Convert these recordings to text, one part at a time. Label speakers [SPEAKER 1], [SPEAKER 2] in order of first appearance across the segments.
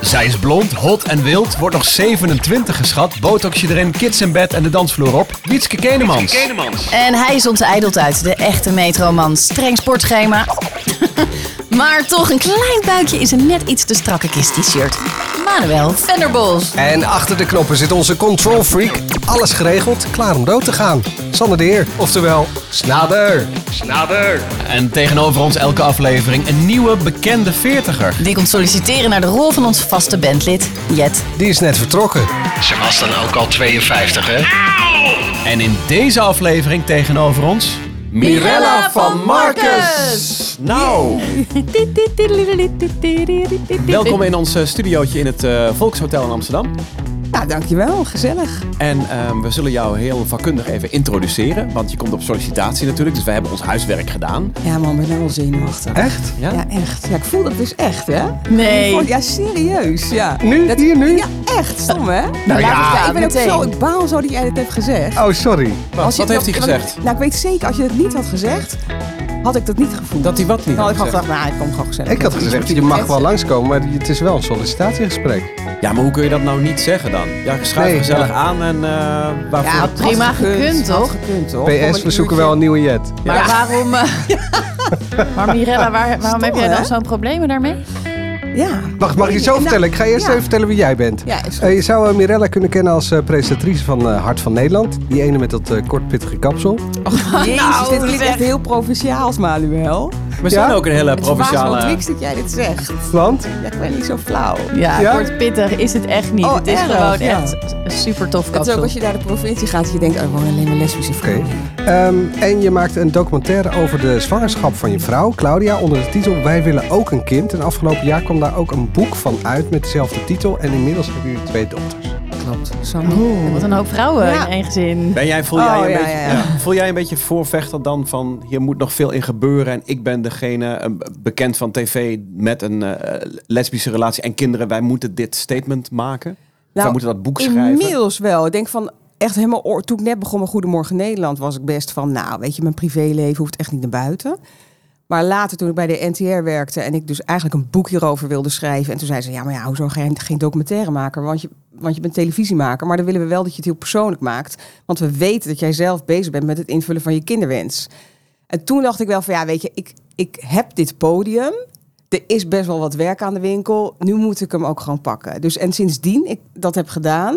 [SPEAKER 1] Zij is blond, hot en wild, wordt nog 27 geschat. Botoxje erin, kids in bed en de dansvloer op. Wietske Kenemans.
[SPEAKER 2] En hij is onze ijdeltuit, de echte metroman. Streng sportschema. maar toch, een klein buikje is een net iets te strakke kist t-shirt. Manuel Venderbos.
[SPEAKER 3] En achter de knoppen zit onze control freak. Alles geregeld, klaar om dood te gaan. Sander de Heer, oftewel Snader.
[SPEAKER 1] En tegenover ons elke aflevering een nieuwe bekende veertiger.
[SPEAKER 2] Die komt solliciteren naar de rol van ons vaste bandlid, Jet.
[SPEAKER 3] Die is net vertrokken.
[SPEAKER 4] Ze was dan ook al 52, hè?
[SPEAKER 1] En in deze aflevering tegenover ons...
[SPEAKER 2] Mirella van Marcus.
[SPEAKER 1] Nou, welkom in ons eh, studiootje in het eh, Volkshotel in Amsterdam.
[SPEAKER 5] Nou, dankjewel. Gezellig.
[SPEAKER 1] En ehm, we zullen jou heel vakkundig even introduceren. Want je komt op sollicitatie natuurlijk, dus we hebben ons huiswerk gedaan.
[SPEAKER 5] Ja, man, ik ben nou wel zenuwachtig.
[SPEAKER 3] Echt?
[SPEAKER 1] Ja?
[SPEAKER 5] Ja, echt. Ja, ik voel dat dus echt, hè?
[SPEAKER 2] Nee.
[SPEAKER 5] Oh, Ja, serieus, ja.
[SPEAKER 3] Nu?
[SPEAKER 5] Dat-
[SPEAKER 3] Hier nu?
[SPEAKER 5] Ja, echt. Stom, hè?
[SPEAKER 3] Nou ja.
[SPEAKER 5] ik ben ook
[SPEAKER 2] meteen.
[SPEAKER 5] zo... Ik baal zo dat jij dit hebt gezegd.
[SPEAKER 3] Oh, sorry.
[SPEAKER 1] Wat,
[SPEAKER 5] Als je
[SPEAKER 1] wat
[SPEAKER 5] het
[SPEAKER 1] heeft hij
[SPEAKER 5] nou- want-
[SPEAKER 1] gezegd?
[SPEAKER 5] Nou, ik weet zeker, als je het niet had gezegd, had ik dat niet gevoeld.
[SPEAKER 1] Dat hij wat niet
[SPEAKER 5] Nou,
[SPEAKER 1] had
[SPEAKER 5] ik had
[SPEAKER 1] gezegd?
[SPEAKER 5] gedacht, nou, ik kom gewoon gezellig.
[SPEAKER 3] Ik had gezegd, je mag wel langskomen, maar het is wel een sollicitatiegesprek.
[SPEAKER 1] Ja, maar hoe kun je dat nou niet zeggen dan? Ja, schuif
[SPEAKER 3] Nee,
[SPEAKER 1] gezellig
[SPEAKER 3] ja.
[SPEAKER 1] aan en eh waarvoor...
[SPEAKER 5] Ja,
[SPEAKER 2] prima gekund,
[SPEAKER 5] had
[SPEAKER 2] toch?
[SPEAKER 5] gekund, toch? Om
[SPEAKER 3] PS,
[SPEAKER 5] een
[SPEAKER 3] we zoeken
[SPEAKER 5] uurtje-
[SPEAKER 3] wel een nieuwe jet.
[SPEAKER 2] Maar waarom... eh, maar Mirella, waar- waarom heb jij
[SPEAKER 5] hè?
[SPEAKER 2] dan zo'n probleem daarmee?
[SPEAKER 5] Ja.
[SPEAKER 3] Wacht, mag ik je zo
[SPEAKER 5] Nou,
[SPEAKER 3] vertellen? Ik ga eerst
[SPEAKER 5] ja.
[SPEAKER 3] even vertellen wie jij bent.
[SPEAKER 5] Ja, is goed.
[SPEAKER 3] Eh, je zou eh, Mirella kunnen kennen als eh, presentatrice van eh, Hart van Nederland. Die ene met dat eh, kort pittige kapsel.
[SPEAKER 5] Jezus, dit klinkt
[SPEAKER 2] zeg.
[SPEAKER 5] echt heel provinciaals, Manuel.
[SPEAKER 1] We zijn
[SPEAKER 3] Ja?
[SPEAKER 1] ook een hele
[SPEAKER 5] Het verbaast me
[SPEAKER 1] provinciale...
[SPEAKER 5] niks dat jij dit zegt.
[SPEAKER 3] Want?
[SPEAKER 5] Ja, ik ben niet zo flauw.
[SPEAKER 2] Ja,
[SPEAKER 3] Ja?
[SPEAKER 2] kort pittig is het echt niet.
[SPEAKER 5] Oh,
[SPEAKER 2] het is
[SPEAKER 5] erg,
[SPEAKER 2] gewoon
[SPEAKER 5] ja.
[SPEAKER 2] echt een super tof
[SPEAKER 5] Het is ook
[SPEAKER 2] kapsel.
[SPEAKER 5] als je naar de provincie gaat, dat je denkt, oh, er wonen alleen maar lesbische
[SPEAKER 3] Oké.
[SPEAKER 5] vrouwen.
[SPEAKER 3] Ehm, en je maakt een documentaire over de zwangerschap van je vrouw, Claudia, onder de titel Wij willen ook een kind. En afgelopen jaar kwam daar ook een boek van uit met dezelfde titel. En inmiddels hebben jullie twee dochters.
[SPEAKER 5] Klopt. Zo
[SPEAKER 1] Oh.
[SPEAKER 5] nou,
[SPEAKER 2] Wat een hoop vrouwen
[SPEAKER 5] Ja.
[SPEAKER 2] in één gezin.
[SPEAKER 1] Ben jij, voel,
[SPEAKER 5] Oh,
[SPEAKER 1] jij een
[SPEAKER 5] ja,
[SPEAKER 1] beetje,
[SPEAKER 5] ja, ja.
[SPEAKER 1] ja, voel jij een beetje voorvechter dan van hier moet nog veel in gebeuren en ik ben degene eh, bekend van tv met een eh, lesbische relatie en kinderen, wij moeten dit statement maken? Of
[SPEAKER 5] Nou,
[SPEAKER 1] wij moeten dat boek schrijven?
[SPEAKER 5] Inmiddels wel. Ik denk van echt helemaal. oor- Toen ik net begon met Goedemorgen Nederland, was ik best van. Nou, weet je, mijn privéleven hoeft echt niet naar buiten. Maar later, toen ik bij de NTR werkte en ik dus eigenlijk een boek hierover wilde schrijven. En toen zei ze: Ja, maar ja, hoezo ga je geen documentaire maken? Want je, want je bent televisiemaker. Maar dan willen we wel dat je het heel persoonlijk maakt. Want we weten dat jij zelf bezig bent met het invullen van je kinderwens. En toen dacht ik wel van ja, weet je, ik, ik heb dit podium. Er is best wel wat werk aan de winkel. Nu moet ik hem ook gewoon pakken. Dus en sindsdien ik dat heb gedaan.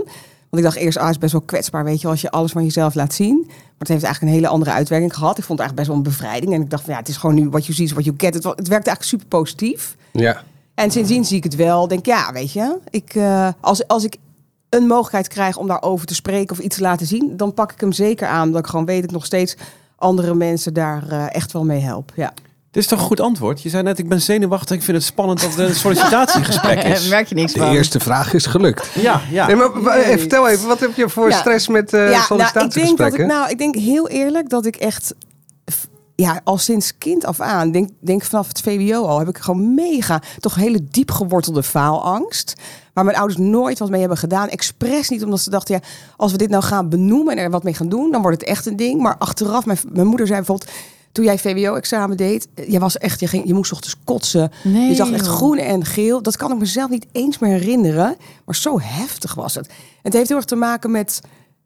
[SPEAKER 5] Want ik dacht eerst, ah, het is best wel kwetsbaar, weet je, wel, als je alles van jezelf laat zien. Maar het heeft eigenlijk een hele andere uitwerking gehad. Ik vond het eigenlijk best wel een bevrijding. En ik dacht van ja, het is gewoon nu wat je ziet, wat je get. Het, wa- het werkte eigenlijk super positief.
[SPEAKER 3] Ja.
[SPEAKER 5] En sindsdien zie ik het wel. Denk ja, weet je, ik, eh, als, als ik een mogelijkheid krijg om daarover te spreken of iets te laten zien, dan pak ik hem zeker aan. Omdat ik gewoon weet dat ik nog steeds andere mensen daar eh, echt wel mee help. Ja.
[SPEAKER 1] Dit is toch een goed antwoord? Je zei net, ik ben zenuwachtig, ik vind het spannend dat het een sollicitatiegesprek
[SPEAKER 2] Daar
[SPEAKER 1] is.
[SPEAKER 2] merk je niks
[SPEAKER 3] De
[SPEAKER 2] van.
[SPEAKER 3] eerste vraag is gelukt.
[SPEAKER 1] Ja, ja.
[SPEAKER 3] Nee, maar wa- eh, vertel even, wat heb je voor
[SPEAKER 5] Ja.
[SPEAKER 3] stress met eh
[SPEAKER 5] nou, ik denk, dat ik,
[SPEAKER 3] sollicitatiegesprekken?
[SPEAKER 5] nou, ik denk heel eerlijk dat ik echt... f- Ja, al sinds kind af aan, denk, denk vanaf het VWO al, heb ik gewoon mega, toch hele diep gewortelde faalangst. Waar mijn ouders nooit wat mee hebben gedaan. Expres niet, omdat ze dachten, ja, als we dit nou gaan benoemen en er wat mee gaan doen, dan wordt het echt een ding. Maar achteraf, mijn, mijn moeder zei bijvoorbeeld, toen jij VWO-examen deed, eh, je was echt, je, ging, je moest 's ochtends kotsen.
[SPEAKER 2] Nee,
[SPEAKER 5] je zag echt
[SPEAKER 2] joh.
[SPEAKER 5] groen en geel. Dat kan ik mezelf niet eens meer herinneren. Maar zo heftig was het. En het heeft heel erg te maken met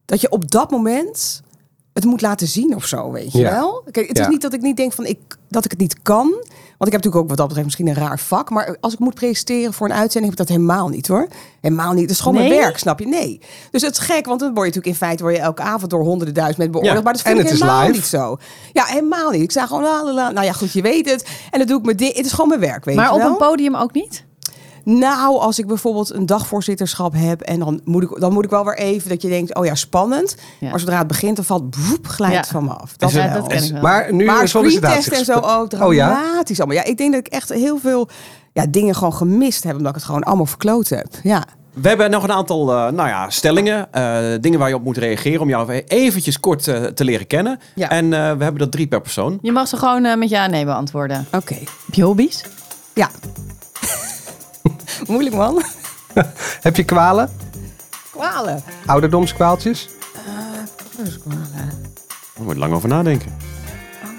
[SPEAKER 5] dat je op dat moment het moet laten zien of zo, weet je
[SPEAKER 3] Ja.
[SPEAKER 5] wel? Kijk, het
[SPEAKER 3] Ja.
[SPEAKER 5] is niet dat ik niet denk van ik, dat ik het niet kan. Want ik heb natuurlijk ook wat dat betreft misschien een raar vak. Maar als ik moet presenteren voor een uitzending, heb ik dat helemaal niet hoor. Helemaal niet. Het is gewoon
[SPEAKER 2] Nee?
[SPEAKER 5] mijn werk, snap je? Nee. Dus het is gek, want dan word je natuurlijk in feite word je elke avond door honderden duizend mensen beoordeeld.
[SPEAKER 1] Ja,
[SPEAKER 5] Maar dat
[SPEAKER 3] en
[SPEAKER 5] vind ik
[SPEAKER 3] het is
[SPEAKER 5] helemaal
[SPEAKER 3] live.
[SPEAKER 5] niet zo. Ja, helemaal niet. Ik zei gewoon la la la. Nou ja, goed, je weet het. En dan doe ik mijn ding. Het is gewoon mijn werk, weet
[SPEAKER 2] Maar
[SPEAKER 5] je
[SPEAKER 2] op
[SPEAKER 5] wel?
[SPEAKER 2] een podium ook niet?
[SPEAKER 5] Nou, als ik bijvoorbeeld een dagvoorzitterschap heb en dan moet ik, dan moet ik wel weer even dat je denkt, oh ja, spannend.
[SPEAKER 2] Ja.
[SPEAKER 5] Maar zodra het begint, dan valt boep, glijdt het
[SPEAKER 2] Ja.
[SPEAKER 5] van me af. Dat,
[SPEAKER 2] Ja,
[SPEAKER 5] wel.
[SPEAKER 2] dat ken ik wel.
[SPEAKER 3] Maar nu een
[SPEAKER 5] Maar screentesten en zo,
[SPEAKER 3] sollicitatiegesprek.
[SPEAKER 5] oh, dramatisch
[SPEAKER 3] oh ja?
[SPEAKER 5] allemaal. Ja, ik denk dat ik echt heel veel ja, dingen gewoon gemist heb, omdat ik het gewoon allemaal verkloot heb. Ja.
[SPEAKER 1] We hebben nog een aantal eh, nou ja, stellingen, eh, dingen waar je op moet reageren om jou eventjes kort eh, te leren kennen.
[SPEAKER 5] Ja.
[SPEAKER 1] En eh, we hebben dat drie per persoon.
[SPEAKER 2] Je mag ze gewoon eh, met ja en nee beantwoorden.
[SPEAKER 5] Oké.
[SPEAKER 2] Heb je hobby's?
[SPEAKER 5] Ja. Moeilijk man.
[SPEAKER 3] Heb je kwalen?
[SPEAKER 5] Kwalen.
[SPEAKER 3] Ouderdomskwaaltjes?
[SPEAKER 1] Daar moet je lang over nadenken.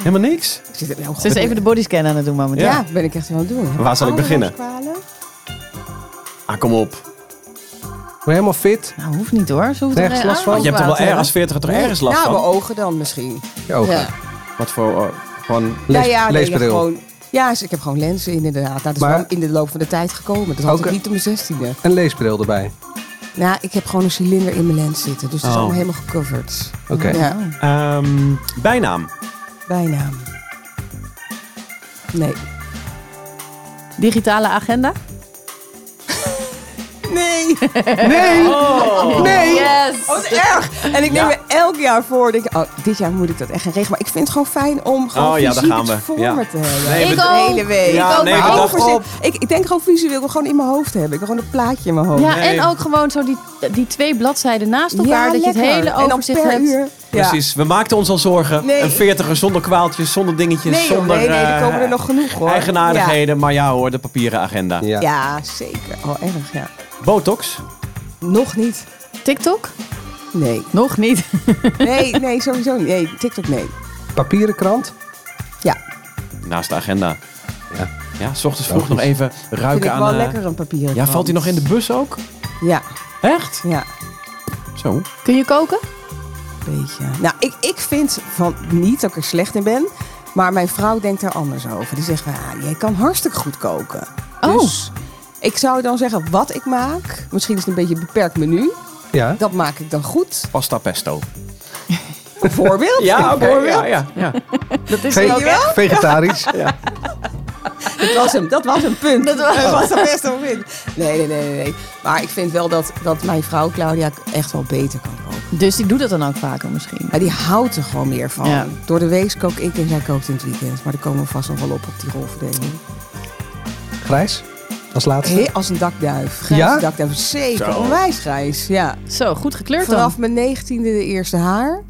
[SPEAKER 1] Helemaal niks.
[SPEAKER 5] Ik zit er nou
[SPEAKER 2] Ze is even de bodyscan aan het doen momenteel.
[SPEAKER 5] Ja, ben ik echt wel aan het doen.
[SPEAKER 1] Waar zal ik beginnen?
[SPEAKER 5] Ouderdomskwalen?
[SPEAKER 1] Ah, kom op.
[SPEAKER 3] Maar helemaal fit.
[SPEAKER 2] Nou, hoeft niet hoor. Ze hoeft
[SPEAKER 3] Nergens
[SPEAKER 2] er,
[SPEAKER 3] last
[SPEAKER 2] eh,
[SPEAKER 3] van?
[SPEAKER 1] Je hebt toch wel
[SPEAKER 2] aanloopwater,
[SPEAKER 1] ergens als 40 toch ergens last
[SPEAKER 5] ja, Nou, mijn
[SPEAKER 1] van?
[SPEAKER 5] ogen dan misschien.
[SPEAKER 3] Je ogen.
[SPEAKER 2] Ja.
[SPEAKER 1] Wat voor... eh, gewoon...
[SPEAKER 3] Lees-
[SPEAKER 5] ja, ja, nee,
[SPEAKER 3] leesbril.
[SPEAKER 5] gewoon, ja, dus ik heb gewoon lenzen inderdaad. Nou, dat is
[SPEAKER 3] Maar-
[SPEAKER 5] wel in de loop van de tijd gekomen. Dat had
[SPEAKER 3] Ook-
[SPEAKER 5] ik niet op mijn zestiende.
[SPEAKER 3] Een leesbril erbij.
[SPEAKER 5] Nou, ik heb gewoon een cilinder in mijn lens zitten. Dus dat
[SPEAKER 1] Oh.
[SPEAKER 5] is allemaal helemaal gecoverd.
[SPEAKER 3] Oké.
[SPEAKER 5] Ja,
[SPEAKER 1] Ehm, bijnaam.
[SPEAKER 5] bijna. Nee.
[SPEAKER 2] Digitale agenda?
[SPEAKER 5] Nee!
[SPEAKER 3] Nee! Nee!
[SPEAKER 2] Yes!
[SPEAKER 5] Wat Oh, erg! En ik neem me elk jaar voor. Denk, ik, oh, dit jaar moet ik dat echt gaan regelen. Maar ik vind het gewoon fijn om gewoon
[SPEAKER 1] Oh, ja, daar
[SPEAKER 5] fysiek
[SPEAKER 1] gaan
[SPEAKER 5] iets
[SPEAKER 1] we.
[SPEAKER 5] voor
[SPEAKER 1] Ja.
[SPEAKER 5] me te hebben.
[SPEAKER 1] Nee,
[SPEAKER 2] Ik
[SPEAKER 1] we-
[SPEAKER 2] ook.
[SPEAKER 5] de hele week.
[SPEAKER 1] Ja,
[SPEAKER 5] Ik ook,
[SPEAKER 1] nee,
[SPEAKER 5] maar
[SPEAKER 1] we
[SPEAKER 5] ook
[SPEAKER 1] dachten
[SPEAKER 5] voor zin-
[SPEAKER 1] op.
[SPEAKER 5] Ik, ik denk gewoon visueel. Ik wil gewoon in mijn hoofd hebben. Ik wil gewoon een plaatje in mijn hoofd.
[SPEAKER 2] Ja,
[SPEAKER 1] Nee.
[SPEAKER 2] en ook gewoon zo die, die twee bladzijden naast
[SPEAKER 5] Ja,
[SPEAKER 2] elkaar. dat je het
[SPEAKER 5] lekker.
[SPEAKER 2] hele
[SPEAKER 5] En dan
[SPEAKER 2] overzicht
[SPEAKER 5] per
[SPEAKER 2] hebt.
[SPEAKER 5] uur. Ja.
[SPEAKER 1] Precies, we maakten ons al zorgen.
[SPEAKER 5] Nee.
[SPEAKER 1] Een veertiger zonder kwaaltjes, zonder dingetjes,
[SPEAKER 5] Nee, joh,
[SPEAKER 1] zonder
[SPEAKER 5] nee, nee, er
[SPEAKER 1] eh,
[SPEAKER 5] komen er nog genoeg hoor.
[SPEAKER 1] eigenaardigheden. Maar ja hoor, de papieren agenda.
[SPEAKER 5] Ja,
[SPEAKER 3] Ja.
[SPEAKER 5] Ja, zeker. Oh, erg, ja.
[SPEAKER 1] Botox?
[SPEAKER 5] Nog niet.
[SPEAKER 2] TikTok?
[SPEAKER 5] Nee.
[SPEAKER 2] Nog niet.
[SPEAKER 5] Nee, nee, sowieso niet. Nee, TikTok nee.
[SPEAKER 3] Papieren krant.
[SPEAKER 5] Ja,
[SPEAKER 1] Naast de agenda.
[SPEAKER 3] Ja.
[SPEAKER 1] Ja, s ochtends vroeg nog even
[SPEAKER 5] vind
[SPEAKER 1] ruiken
[SPEAKER 5] ik
[SPEAKER 1] aan...
[SPEAKER 5] wel
[SPEAKER 1] eh,
[SPEAKER 5] lekker een papieren
[SPEAKER 1] Ja, valt hij nog in de bus ook?
[SPEAKER 5] Ja,
[SPEAKER 1] Echt?
[SPEAKER 5] ja.
[SPEAKER 1] Zo.
[SPEAKER 2] Kun je koken?
[SPEAKER 5] Beetje. Nou, ik, ik vind van niet dat ik er slecht in ben. Maar mijn vrouw denkt daar anders over. Die zegt, ah, jij kan hartstikke goed koken.
[SPEAKER 2] Oh.
[SPEAKER 5] Dus ik zou dan zeggen wat ik maak. Misschien is het een beetje een beperkt menu.
[SPEAKER 3] Ja.
[SPEAKER 5] Dat maak ik dan goed.
[SPEAKER 1] Pasta pesto.
[SPEAKER 5] Bijvoorbeeld. bijvoorbeeld.
[SPEAKER 1] ja, ja, ja.
[SPEAKER 2] Dat is
[SPEAKER 3] Ve-
[SPEAKER 2] er ook echt.
[SPEAKER 3] vegetarisch.
[SPEAKER 5] Dat was hem, dat was een punt. Dat was, het best een punt. Nee, nee, nee, nee, nee. Maar ik vind wel dat, dat mijn vrouw Claudia echt wel beter kan koken.
[SPEAKER 2] Dus ik doe dat dan ook vaker misschien.
[SPEAKER 5] Maar die houdt er gewoon meer van.
[SPEAKER 2] Ja.
[SPEAKER 5] Door de week kook ik en zij kookt in het weekend. Maar daar komen we vast nog wel op op die rolverdeling.
[SPEAKER 3] Grijs. Als laatste.
[SPEAKER 5] Hé, als een dakduif. Grijs
[SPEAKER 3] Ja?
[SPEAKER 5] dakduif. Zeker.
[SPEAKER 1] Zo.
[SPEAKER 5] Onwijs grijs. Ja.
[SPEAKER 2] Zo, goed gekleurd
[SPEAKER 5] Vanaf
[SPEAKER 2] dan.
[SPEAKER 5] mijn negentiende de eerste haar.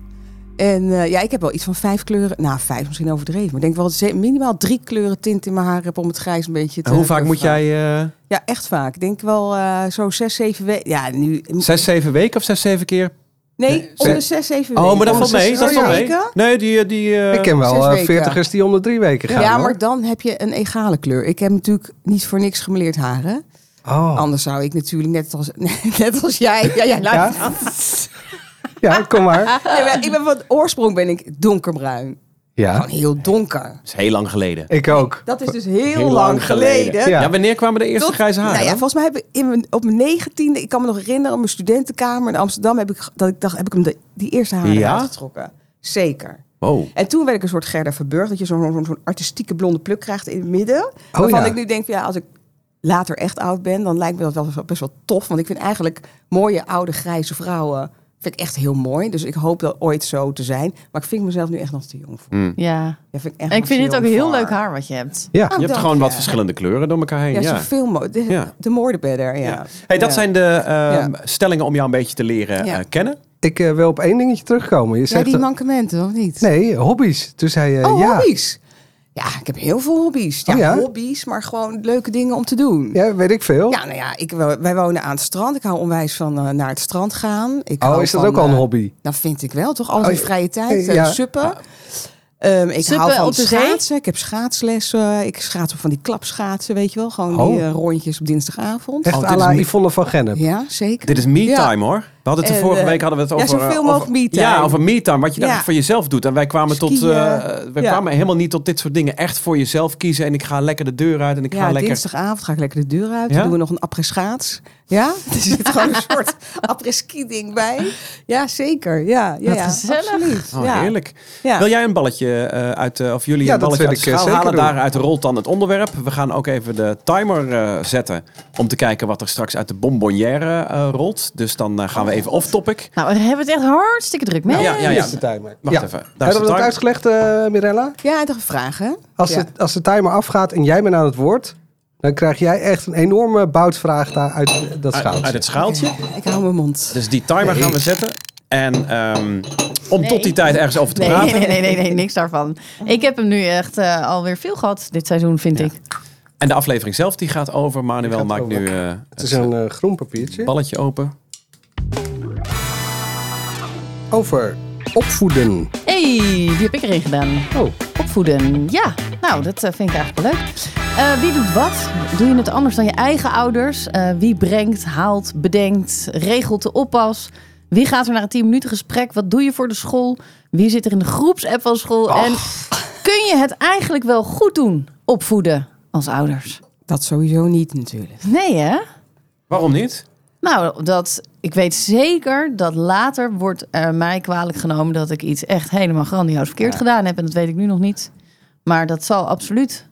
[SPEAKER 5] En eh, ja, ik heb wel iets van vijf kleuren. Nou, vijf misschien overdreven. Maar ik denk wel dat ik minimaal drie kleuren tint in mijn haar heb om het grijs een beetje te.
[SPEAKER 1] En hoe vaak moet jij... eh,
[SPEAKER 5] Ja, echt vaak. Ik denk wel eh, zo zes, zeven weken. Ja, nu.
[SPEAKER 1] zes, zeven weken of zes, zeven keer?
[SPEAKER 5] Nee, om de zes, zeven weken.
[SPEAKER 1] Oh, maar dat
[SPEAKER 5] Om
[SPEAKER 1] valt
[SPEAKER 5] de
[SPEAKER 1] mee.
[SPEAKER 5] zes,
[SPEAKER 1] Dat valt
[SPEAKER 5] zeven
[SPEAKER 1] mee.
[SPEAKER 5] weken.
[SPEAKER 1] Nee, die... eh, die eh,
[SPEAKER 3] Ik ken
[SPEAKER 5] zes
[SPEAKER 3] wel eh,
[SPEAKER 5] weken.
[SPEAKER 3] veertigers die onder drie weken gaan.
[SPEAKER 5] Ja,
[SPEAKER 3] hoor.
[SPEAKER 5] maar dan heb je een egale kleur. Ik heb natuurlijk niet voor niks gemeleerd haren.
[SPEAKER 3] Oh.
[SPEAKER 5] Anders zou ik natuurlijk net als, net als jij. Ja, ja, luister.
[SPEAKER 3] Ja, kom maar.
[SPEAKER 5] Ja, maar ik ben van oorsprong ben ik donkerbruin.
[SPEAKER 3] Ja,
[SPEAKER 5] Gewoon heel donker.
[SPEAKER 1] is heel lang geleden.
[SPEAKER 3] ik ook.
[SPEAKER 5] Dat is dus heel, lang geleden.
[SPEAKER 3] Ja.
[SPEAKER 1] Ja. wanneer kwamen de eerste
[SPEAKER 5] Tot-
[SPEAKER 1] grijze haren?
[SPEAKER 5] Nou ja, volgens mij heb ik in mijn, op mijn negentiende, ik kan me nog herinneren, op mijn studentenkamer in Amsterdam, heb ik, ge- dat ik dacht, heb ik hem de, die eerste haren
[SPEAKER 1] Ja?
[SPEAKER 5] uitgetrokken. Zeker.
[SPEAKER 1] Wow.
[SPEAKER 5] En toen werd ik een soort Gerda Verburg, dat je zo'n zo'n- zo'n artistieke blonde pluk krijgt in het midden. waarvan
[SPEAKER 3] ja.
[SPEAKER 5] ik nu denk, van, ja, als ik later echt oud ben, dan lijkt me dat wel best wel tof. Want ik vind eigenlijk mooie oude grijze vrouwen vind ik echt heel mooi. Dus ik hoop dat ooit zo te zijn. Maar ik vind mezelf nu echt nog te jong
[SPEAKER 2] Mm.
[SPEAKER 5] voor.
[SPEAKER 2] Ja.
[SPEAKER 5] Ja, vind ik, echt
[SPEAKER 2] En ik
[SPEAKER 5] nog
[SPEAKER 2] vind
[SPEAKER 5] te
[SPEAKER 2] dit ook
[SPEAKER 5] jong
[SPEAKER 2] heel
[SPEAKER 5] voor.
[SPEAKER 2] leuk haar wat je hebt.
[SPEAKER 3] Ja,
[SPEAKER 1] Je hebt
[SPEAKER 5] dank
[SPEAKER 1] gewoon wat
[SPEAKER 5] je.
[SPEAKER 1] verschillende kleuren door elkaar heen.
[SPEAKER 5] Ja,
[SPEAKER 1] Ja,
[SPEAKER 5] zoveel mogelijk. De,
[SPEAKER 1] Ja.
[SPEAKER 5] de moordenbedder, ja. ja.
[SPEAKER 1] Hey, dat zijn de ehm,
[SPEAKER 5] Ja.
[SPEAKER 1] stellingen om jou een beetje te leren
[SPEAKER 5] Ja.
[SPEAKER 1] eh, kennen.
[SPEAKER 3] ik eh, wil op één dingetje terugkomen. Je
[SPEAKER 5] Ja,
[SPEAKER 3] zegt,
[SPEAKER 5] die mankementen, of niet?
[SPEAKER 3] Nee, hobby's. Toen zei je,
[SPEAKER 5] Oh,
[SPEAKER 3] ja.
[SPEAKER 5] hobby's. Ja, ik heb heel veel hobby's. Ja,
[SPEAKER 3] Oh, ja?
[SPEAKER 5] hobby's, maar gewoon leuke dingen om te doen.
[SPEAKER 3] Ja, weet ik veel.
[SPEAKER 5] Ja, nou ja, ik, wo- wij wonen aan het strand. Ik hou onwijs van eh, naar het strand gaan. Ik
[SPEAKER 3] oh,
[SPEAKER 5] hou
[SPEAKER 3] is dat
[SPEAKER 5] van,
[SPEAKER 3] ook al een
[SPEAKER 5] eh,
[SPEAKER 3] hobby?
[SPEAKER 5] Nou, vind ik wel, toch? Al
[SPEAKER 3] Oh,
[SPEAKER 5] die
[SPEAKER 3] ja.
[SPEAKER 5] vrije tijd, eh,
[SPEAKER 3] Ja.
[SPEAKER 5] suppen. Ehm, ik
[SPEAKER 2] Suppen
[SPEAKER 5] hou van
[SPEAKER 2] op de zee?
[SPEAKER 5] schaatsen. Ik heb schaatslessen. Ik schaats op van die klapschaatsen, weet je wel. Gewoon
[SPEAKER 3] Oh.
[SPEAKER 5] die eh, rondjes op dinsdagavond.
[SPEAKER 3] Echt
[SPEAKER 1] Oh, dit
[SPEAKER 3] à
[SPEAKER 1] is
[SPEAKER 3] la
[SPEAKER 1] niet-
[SPEAKER 3] Yvonne van Gennep.
[SPEAKER 5] Ja, zeker.
[SPEAKER 1] Dit is me
[SPEAKER 5] Ja.
[SPEAKER 1] time hoor. We hadden het de
[SPEAKER 5] En,
[SPEAKER 1] vorige
[SPEAKER 5] eh,
[SPEAKER 1] week hadden we het
[SPEAKER 5] ja,
[SPEAKER 1] over. eh,
[SPEAKER 5] zoveel
[SPEAKER 1] over-
[SPEAKER 5] mogelijk me time.
[SPEAKER 1] Ja, over me time. Wat je
[SPEAKER 5] Ja.
[SPEAKER 1] daar voor jezelf doet. En wij kwamen tot.
[SPEAKER 5] Skiën.
[SPEAKER 1] eh, wij
[SPEAKER 5] Ja.
[SPEAKER 1] kwamen helemaal niet tot dit soort dingen. Echt voor jezelf kiezen. En ik ga lekker de deur uit. En ik ga
[SPEAKER 5] ja,
[SPEAKER 1] lekker.
[SPEAKER 5] dinsdagavond ga ik lekker de deur uit.
[SPEAKER 1] Ja?
[SPEAKER 5] Dan doen we nog een après-schaats. Ja, er zit gewoon een soort après-ski ding bij. Ja, zeker. Ja, ja,
[SPEAKER 2] Wat
[SPEAKER 5] ja,
[SPEAKER 2] gezellig.
[SPEAKER 5] absoluut.
[SPEAKER 1] Oh,
[SPEAKER 5] ja.
[SPEAKER 1] heerlijk.
[SPEAKER 5] Ja.
[SPEAKER 1] Wil jij een balletje eh, uit, eh, of jullie
[SPEAKER 3] Ja,
[SPEAKER 1] een
[SPEAKER 3] dat
[SPEAKER 1] balletje
[SPEAKER 3] wil
[SPEAKER 1] uit de
[SPEAKER 3] ik, eh,
[SPEAKER 1] schaal
[SPEAKER 3] zeker
[SPEAKER 1] halen?
[SPEAKER 3] doen.
[SPEAKER 1] Daaruit rolt dan het onderwerp. We gaan ook even de timer eh, zetten om te kijken wat er straks uit de bonbonnière eh, rolt. Dus dan eh, gaan we even off topic.
[SPEAKER 2] Nou, we hebben het echt hartstikke druk mee.
[SPEAKER 1] Ja, ja, ja.
[SPEAKER 3] Is de timer.
[SPEAKER 1] Wacht
[SPEAKER 3] ja.
[SPEAKER 1] even. Daar is
[SPEAKER 3] Hebben
[SPEAKER 1] de
[SPEAKER 3] we dat
[SPEAKER 1] timer.
[SPEAKER 3] uitgelegd, eh Mirella?
[SPEAKER 5] Ja, en toch een vraag, hè?
[SPEAKER 3] Als,
[SPEAKER 5] ja.
[SPEAKER 3] de, als de timer afgaat en jij bent aan het woord, dan krijg jij echt een enorme boutvraag daar uit dat
[SPEAKER 1] Uit,
[SPEAKER 3] schaaltje.
[SPEAKER 1] uit het schaaltje.
[SPEAKER 5] Ik hou mijn mond.
[SPEAKER 1] Dus die timer gaan we zetten. En ehm, om
[SPEAKER 2] Nee.
[SPEAKER 1] tot die tijd ergens over te
[SPEAKER 2] Nee,
[SPEAKER 1] praten. Oh.
[SPEAKER 2] nee, nee, nee, nee, niks daarvan. Ik heb hem nu echt eh, alweer veel gehad dit seizoen, vind ik.
[SPEAKER 1] En de aflevering zelf die gaat over. Manuel
[SPEAKER 3] gaat
[SPEAKER 1] maakt
[SPEAKER 3] over.
[SPEAKER 1] nu eh,
[SPEAKER 3] Het is een eh, groen papiertje.
[SPEAKER 1] het balletje open.
[SPEAKER 3] Over opvoeden.
[SPEAKER 2] hey, die heb ik erin gedaan.
[SPEAKER 3] Oh,
[SPEAKER 2] Opvoeden, ja. Nou, dat eh, vind ik eigenlijk wel leuk. Eh, wie doet wat? Doe je het anders dan je eigen ouders? Eh, wie brengt, haalt, bedenkt, regelt de oppas? Wie gaat er naar een 10 minuten gesprek? Wat doe je voor de school? Wie zit er in de groepsapp van school? En kun je het eigenlijk wel goed doen, opvoeden als ouders?
[SPEAKER 5] Dat sowieso niet natuurlijk.
[SPEAKER 2] Nee hè?
[SPEAKER 1] Waarom niet?
[SPEAKER 2] Nou, dat, ik weet zeker dat later wordt eh, mij kwalijk genomen dat ik iets echt helemaal grandioos verkeerd gedaan heb. En dat weet ik nu nog niet. Maar dat zal absoluut.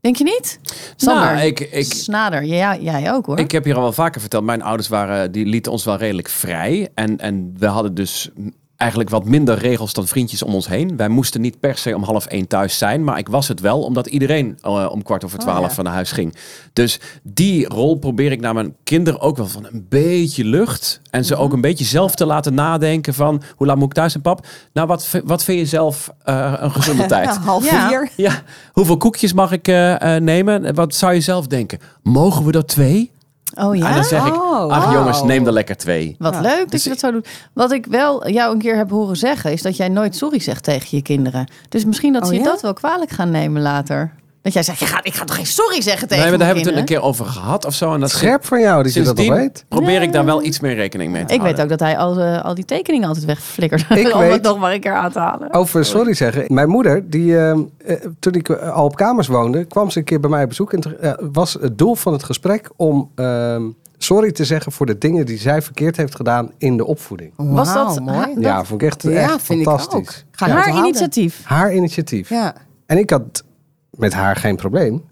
[SPEAKER 2] Denk je niet? Sander,
[SPEAKER 1] Nou, ik, ik,
[SPEAKER 2] Snader, ja, jij ook hoor.
[SPEAKER 1] ik heb hier al wel vaker verteld. Mijn ouders waren, die lieten ons wel redelijk vrij. En, en we hadden dus eigenlijk wat minder regels dan vriendjes om ons heen. Wij moesten niet per se om half één thuis zijn. Maar ik was het wel, omdat iedereen eh, om kwart over twaalf
[SPEAKER 2] Oh, ja.
[SPEAKER 1] van naar huis ging. Dus die rol probeer ik naar mijn kinderen ook wel van een beetje lucht. En ze
[SPEAKER 2] Mhm.
[SPEAKER 1] ook een beetje zelf te laten nadenken van... hoe laat moet ik thuis zijn, pap? Nou, wat, v- wat vind je zelf eh, een gezonde tijd?
[SPEAKER 5] Nou, half
[SPEAKER 2] Ja.
[SPEAKER 5] vier.
[SPEAKER 1] Ja, hoeveel koekjes mag ik eh, eh, nemen? En Wat zou je zelf denken? Mogen we er twee?
[SPEAKER 2] oh ja?
[SPEAKER 1] En dan zeg ik,
[SPEAKER 5] Oh.
[SPEAKER 1] ach
[SPEAKER 5] Oh.
[SPEAKER 1] jongens, neem er lekker twee.
[SPEAKER 2] Wat
[SPEAKER 5] Ja.
[SPEAKER 2] leuk dat
[SPEAKER 1] Dus
[SPEAKER 2] je dat zo doet. Wat ik wel jou een keer heb horen zeggen, is dat jij nooit sorry zegt tegen je kinderen. Dus misschien dat
[SPEAKER 5] Oh
[SPEAKER 2] ze je
[SPEAKER 5] ja?
[SPEAKER 2] dat wel kwalijk gaan nemen later. Dat jij zegt, je gaat, ik ga toch geen sorry zeggen tegen
[SPEAKER 1] Nee, maar
[SPEAKER 2] mijn
[SPEAKER 1] daar hebben we het
[SPEAKER 2] kinderen?
[SPEAKER 1] een keer over gehad of zo. En dat
[SPEAKER 3] Scherp van jou dat je dat al
[SPEAKER 1] sindsdien
[SPEAKER 3] weet.
[SPEAKER 1] probeer ik daar wel iets meer rekening mee te
[SPEAKER 2] Ik weet
[SPEAKER 1] houden.
[SPEAKER 2] ook dat hij al, eh, al die tekeningen altijd wegflikkert.
[SPEAKER 3] Ik
[SPEAKER 2] om
[SPEAKER 3] weet-
[SPEAKER 2] het nog maar een keer aan te halen.
[SPEAKER 3] Over sorry zeggen. Mijn moeder, die, ehm, eh, toen ik eh, al op kamers woonde, kwam ze een keer bij mij op bezoek. En toen, eh, was het doel van het gesprek om ehm, sorry te zeggen voor de dingen die zij verkeerd heeft gedaan in de opvoeding.
[SPEAKER 5] Oh.
[SPEAKER 2] Was
[SPEAKER 5] Wauw,
[SPEAKER 2] dat-
[SPEAKER 5] mooi?
[SPEAKER 3] ja, vond ik echt,
[SPEAKER 5] Ja,
[SPEAKER 3] echt
[SPEAKER 5] vind ik
[SPEAKER 3] fantastisch.
[SPEAKER 5] ook. Ga
[SPEAKER 2] Haar
[SPEAKER 5] onthouden.
[SPEAKER 2] initiatief.
[SPEAKER 3] Haar initiatief.
[SPEAKER 5] Ja.
[SPEAKER 3] En ik had met haar geen probleem.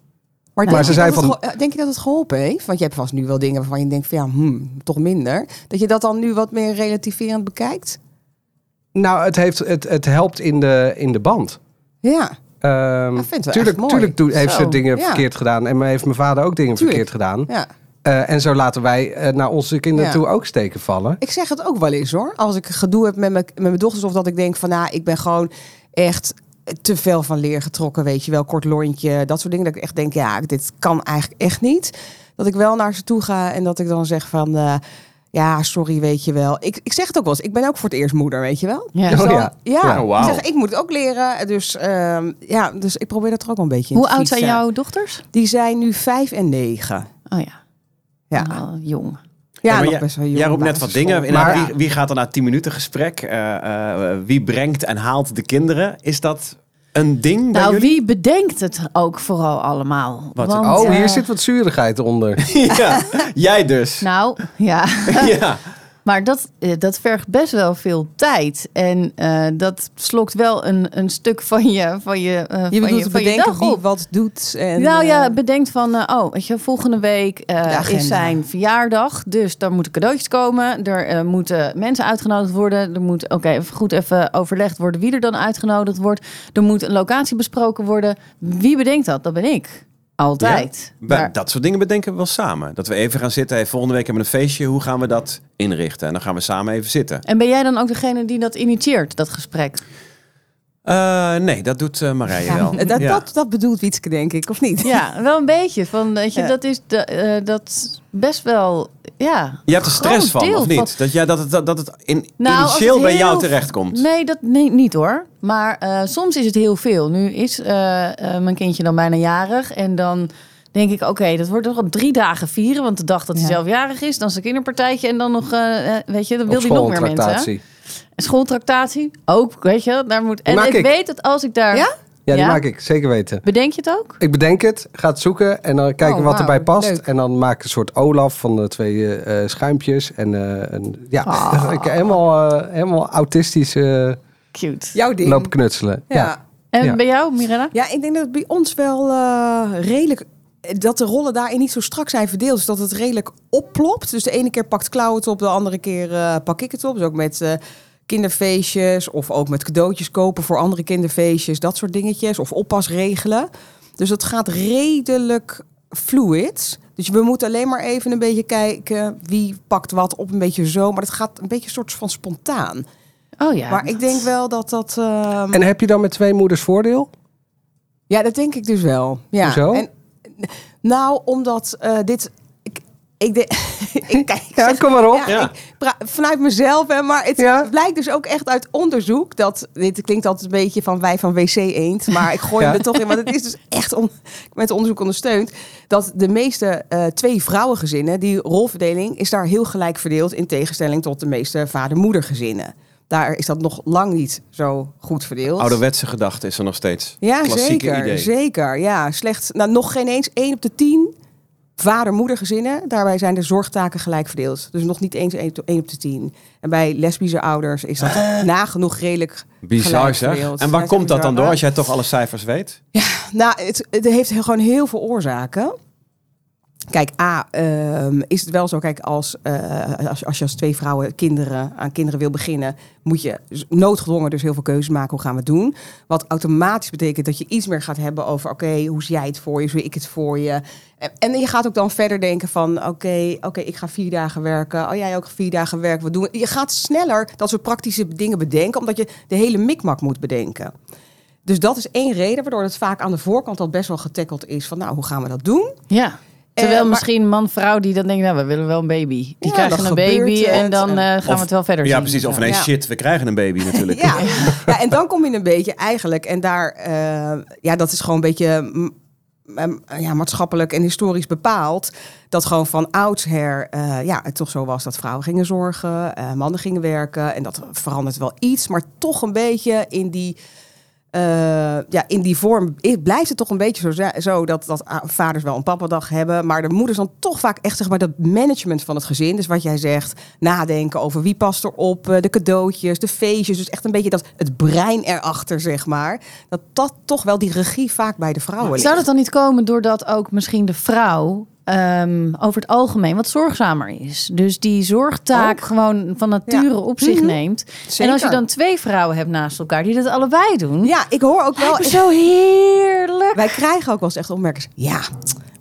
[SPEAKER 5] Maar,
[SPEAKER 3] Maar
[SPEAKER 5] denk,
[SPEAKER 3] ze
[SPEAKER 5] je
[SPEAKER 3] zei
[SPEAKER 5] dat
[SPEAKER 3] van-
[SPEAKER 5] het geho- eh, denk je dat het geholpen heeft? Want je hebt vast nu wel dingen waarvan je denkt van ja, hmm, toch minder. Dat je dat dan nu wat meer relativerend bekijkt?
[SPEAKER 3] Nou, het, heeft, het, het helpt in de, in de band.
[SPEAKER 5] Ja.
[SPEAKER 3] Ehm,
[SPEAKER 5] vind het wel
[SPEAKER 3] tuurlijk
[SPEAKER 5] echt mooi.
[SPEAKER 3] tuurlijk doe- heeft
[SPEAKER 2] Zo,
[SPEAKER 3] ze dingen
[SPEAKER 5] ja.
[SPEAKER 3] verkeerd gedaan. En heeft mijn vader ook dingen
[SPEAKER 5] Tuurlijk.
[SPEAKER 3] verkeerd gedaan.
[SPEAKER 5] ja.
[SPEAKER 3] Eh, en zo laten wij eh, naar onze kinderen
[SPEAKER 5] Ja.
[SPEAKER 3] toe ook steken vallen.
[SPEAKER 5] Ik zeg het ook wel eens hoor. Als ik gedoe heb met mijn, met mijn dochters of dat ik denk van nou, ik ben gewoon echt te veel van leer getrokken, weet je wel, kort lontje, dat soort dingen. Dat ik echt denk, ja, dit kan eigenlijk echt niet. Dat ik wel naar ze toe ga en dat ik dan zeg van, eh, ja, sorry, weet je wel. Ik, ik zeg het ook wel eens, ik ben ook voor het eerst moeder, weet je wel.
[SPEAKER 2] Ja.
[SPEAKER 5] Dus
[SPEAKER 3] Oh
[SPEAKER 5] dan-
[SPEAKER 3] ja.
[SPEAKER 5] ja.
[SPEAKER 3] Ja,
[SPEAKER 1] wauw.
[SPEAKER 5] ik, zeg, ik moet het ook leren. Dus, ehm, ja, dus ik probeer dat er ook wel een beetje in
[SPEAKER 2] Hoe
[SPEAKER 5] te
[SPEAKER 2] oud zijn
[SPEAKER 5] gieten.
[SPEAKER 2] jouw dochters?
[SPEAKER 5] Die zijn nu vijf en negen.
[SPEAKER 2] Oh ja,
[SPEAKER 5] Ja,
[SPEAKER 2] Nou, jong.
[SPEAKER 5] ja,
[SPEAKER 1] maar
[SPEAKER 5] nog
[SPEAKER 1] jij-
[SPEAKER 5] best wel jong.
[SPEAKER 1] Jij roept net wat
[SPEAKER 5] basisschool.
[SPEAKER 1] dingen. Inderdaad,
[SPEAKER 5] Maar-
[SPEAKER 1] wie, wie gaat er na 10 minuten gesprek? Eh, eh, wie brengt en haalt de kinderen? Is dat een ding bij
[SPEAKER 2] Nou,
[SPEAKER 1] jullie?
[SPEAKER 2] wie bedenkt het ook vooral allemaal?
[SPEAKER 1] Wat-
[SPEAKER 2] Want,
[SPEAKER 3] Oh,
[SPEAKER 2] eh,
[SPEAKER 3] hier zit wat zuurigheid onder.
[SPEAKER 1] ja, jij dus.
[SPEAKER 2] Nou, ja.
[SPEAKER 1] ja.
[SPEAKER 2] Maar dat, eh, dat vergt best wel veel tijd. En eh, dat slokt wel een, een stuk van je, van je, eh,
[SPEAKER 5] Je
[SPEAKER 2] van
[SPEAKER 5] bedoelt
[SPEAKER 2] je,
[SPEAKER 5] het
[SPEAKER 2] van je
[SPEAKER 5] bedenken
[SPEAKER 2] dag
[SPEAKER 5] wie
[SPEAKER 2] op.
[SPEAKER 5] wat doet. En,
[SPEAKER 2] nou ja,
[SPEAKER 5] eh,
[SPEAKER 2] bedenkt van, eh, oh, weet je, volgende week eh,
[SPEAKER 5] agenda.
[SPEAKER 2] is zijn verjaardag. Dus daar moeten cadeautjes komen. Er eh, moeten mensen uitgenodigd worden. Er moet, oké, even goed even overlegd worden wie er dan uitgenodigd wordt. Er moet een locatie besproken worden. Wie bedenkt dat? Dat ben ik. Altijd.
[SPEAKER 1] Ja, maar
[SPEAKER 2] Maar-
[SPEAKER 1] dat soort dingen bedenken we wel samen. Dat we even gaan zitten. Hey, volgende week hebben we een feestje. Hoe gaan we dat inrichten? En dan gaan we samen even zitten.
[SPEAKER 2] En ben jij dan ook degene die dat initieert, dat gesprek?
[SPEAKER 1] Eh, nee, dat doet eh, Marije wel.
[SPEAKER 5] eh, Dat,
[SPEAKER 1] Ja.
[SPEAKER 5] dat, dat bedoelt Wietske, denk ik, of niet?
[SPEAKER 2] Ja, wel een beetje. Van, weet je,
[SPEAKER 5] Ja.
[SPEAKER 2] dat is de, eh, dat is best wel, ja.
[SPEAKER 1] Je hebt er stress
[SPEAKER 2] groot
[SPEAKER 5] Oh,
[SPEAKER 1] van,
[SPEAKER 2] deel
[SPEAKER 1] of niet? Dat, jij, dat, het, dat, dat het in,
[SPEAKER 2] Nou, als
[SPEAKER 1] initieel
[SPEAKER 2] het
[SPEAKER 1] bij
[SPEAKER 2] heel-
[SPEAKER 1] jou terechtkomt.
[SPEAKER 2] Nee, dat nee, niet hoor. Maar eh, soms is het heel veel. Nu is eh, eh, mijn kindje dan bijna jarig. En dan denk ik, oké, dat wordt toch al drie dagen vieren. Want de dag dat hij
[SPEAKER 5] Ja.
[SPEAKER 2] zelf jarig is, dan is een kinderpartijtje. En dan nog, eh, eh, weet je, dan wil
[SPEAKER 3] Op
[SPEAKER 2] hij nog meer mensen. hè?
[SPEAKER 3] schooltractatie.
[SPEAKER 2] En schooltractatie, ook, weet je. Daar moet... En
[SPEAKER 3] maak
[SPEAKER 2] ik,
[SPEAKER 3] ik.
[SPEAKER 2] weet dat als ik daar...
[SPEAKER 5] Ja?
[SPEAKER 3] Ja, die
[SPEAKER 2] Ja?
[SPEAKER 3] maak ik, zeker weten.
[SPEAKER 2] Bedenk je het ook?
[SPEAKER 3] Ik bedenk het, ga het zoeken en dan kijken
[SPEAKER 5] Oh,
[SPEAKER 3] wat
[SPEAKER 5] wauw,
[SPEAKER 3] erbij past.
[SPEAKER 5] leuk.
[SPEAKER 3] En dan maak ik een soort Olaf van de twee eh, eh, schuimpjes. En eh, een- ja,
[SPEAKER 5] Ah.
[SPEAKER 3] ik helemaal, eh, helemaal autistisch eh,
[SPEAKER 2] Cute.
[SPEAKER 5] Jouw ding.
[SPEAKER 3] lopen knutselen. Ja.
[SPEAKER 5] Ja.
[SPEAKER 2] En
[SPEAKER 3] Ja.
[SPEAKER 2] bij jou, Mirella?
[SPEAKER 5] Ja, ik denk dat het bij ons wel eh, redelijk... eh, Dat de rollen daarin niet zo strak zijn verdeeld. Dus dat het redelijk opplopt. Dus de ene keer pakt Klauw het op, de andere keer eh, pak ik het op. Dus ook met eh, kinderfeestjes of ook met cadeautjes kopen voor andere kinderfeestjes. Dat soort dingetjes. Of oppas regelen. Dus dat gaat redelijk fluid. Dus we moeten alleen maar even een beetje kijken wie pakt wat op. Een beetje zo. Maar dat gaat een beetje een soort van spontaan.
[SPEAKER 2] Oh ja.
[SPEAKER 5] Maar ik denk wel dat dat... ehm,
[SPEAKER 3] En heb je dan met twee moeders voordeel?
[SPEAKER 5] ja, dat denk ik dus wel. Ja.
[SPEAKER 3] Hoezo?
[SPEAKER 5] En, nou, omdat eh, dit. Ik, Ik, denk, ik kijk, ik
[SPEAKER 3] Ja,
[SPEAKER 5] zeg-
[SPEAKER 3] kom maar op.
[SPEAKER 1] Ja.
[SPEAKER 5] ik pra- vanuit mezelf, hè, maar het
[SPEAKER 3] Ja.
[SPEAKER 5] blijkt dus ook echt uit onderzoek dat. Dit klinkt altijd een beetje van wij van WC Eend, maar ik gooi
[SPEAKER 3] Ja.
[SPEAKER 5] hem er toch in. Want het is dus echt on- met onderzoek ondersteund dat de meeste eh, twee vrouwengezinnen, die rolverdeling is daar heel gelijk verdeeld in tegenstelling tot de meeste vader-moedergezinnen. Daar is dat nog lang niet zo goed verdeeld.
[SPEAKER 1] Ouderwetse gedachte is er nog steeds.
[SPEAKER 5] Ja,
[SPEAKER 1] Klassieke
[SPEAKER 5] zeker.
[SPEAKER 1] idee.
[SPEAKER 5] Zeker, ja. Slechts, nou, nog geen eens 1 op de 10 vader-moedergezinnen. Daarbij zijn de zorgtaken gelijk verdeeld. Dus nog niet eens 1 op de 10. En bij lesbische ouders is dat nagenoeg redelijk
[SPEAKER 1] Ah. Bizar
[SPEAKER 5] gelijk
[SPEAKER 1] zeg.
[SPEAKER 5] verdeeld.
[SPEAKER 1] En
[SPEAKER 5] Ja,
[SPEAKER 1] waar
[SPEAKER 5] het is
[SPEAKER 1] komt dat
[SPEAKER 5] bizar.
[SPEAKER 1] dan door als jij toch alle cijfers weet?
[SPEAKER 5] Nou, het, het heeft gewoon heel veel oorzaken. Kijk, A, ehm, is het wel zo, kijk, als, eh, als, je- als je als twee vrouwen kinderen, aan kinderen wil beginnen, moet je z- noodgedwongen dus heel veel keuzes maken, hoe gaan we het doen? Wat automatisch betekent dat je iets meer gaat hebben over, oké, hoe zie jij het voor je, hoe zie ik het voor je? En, en je gaat ook dan verder denken van, oké, oké, ik ga vier dagen werken, oh jij ook vier dagen werken, wat doen we? Je gaat sneller dat soort praktische dingen bedenken, omdat je de hele mikmak moet bedenken. Dus dat is één reden waardoor het vaak aan de voorkant al best wel getackeld is van, nou, hoe gaan we dat doen?
[SPEAKER 2] Ja. Terwijl
[SPEAKER 5] Eh, maar-
[SPEAKER 2] misschien man-vrouw die dan denkt, nou, we willen wel een baby. Die
[SPEAKER 5] Ja,
[SPEAKER 2] krijgen
[SPEAKER 5] dan
[SPEAKER 2] een baby
[SPEAKER 5] gebeurt het.
[SPEAKER 2] en dan eh, gaan
[SPEAKER 1] Of-
[SPEAKER 2] we het wel verder
[SPEAKER 1] Ja,
[SPEAKER 2] zien.
[SPEAKER 1] precies. Of
[SPEAKER 2] Zo.
[SPEAKER 1] ineens
[SPEAKER 5] Ja.
[SPEAKER 1] shit, we krijgen een baby natuurlijk.
[SPEAKER 5] Ja. ja, en dan kom je een beetje eigenlijk. En daar, eh, ja, dat is gewoon een beetje mm, mm, ja, maatschappelijk en historisch bepaald. Dat gewoon van oudsher, eh, ja, het toch zo was dat vrouwen gingen zorgen, eh, mannen gingen werken. En dat verandert wel iets, maar toch een beetje in die. eh, ja, in die vorm i- blijft het toch een beetje zo, za- zo dat, dat ah, vaders wel een pappadag hebben. Maar de moeders dan toch vaak echt zeg maar dat management van het gezin. Dus wat jij zegt, nadenken over wie past erop, eh, de cadeautjes, de feestjes. Dus echt een beetje dat het brein erachter, zeg maar. Dat dat toch wel die regie vaak bij de vrouwen ligt.
[SPEAKER 2] Zou dat dan niet komen doordat ook misschien de vrouw ehm, over het algemeen wat zorgzamer is? Dus die zorgtaak gewoon van nature op zich neemt. En als je
[SPEAKER 5] Zeker.
[SPEAKER 2] dan twee vrouwen hebt naast elkaar die dat allebei doen,
[SPEAKER 5] Ja, ik hoor ook wel.
[SPEAKER 2] lijkt me zo heerlijk.
[SPEAKER 5] Wij krijgen ook wel eens echt opmerkingen. Ja,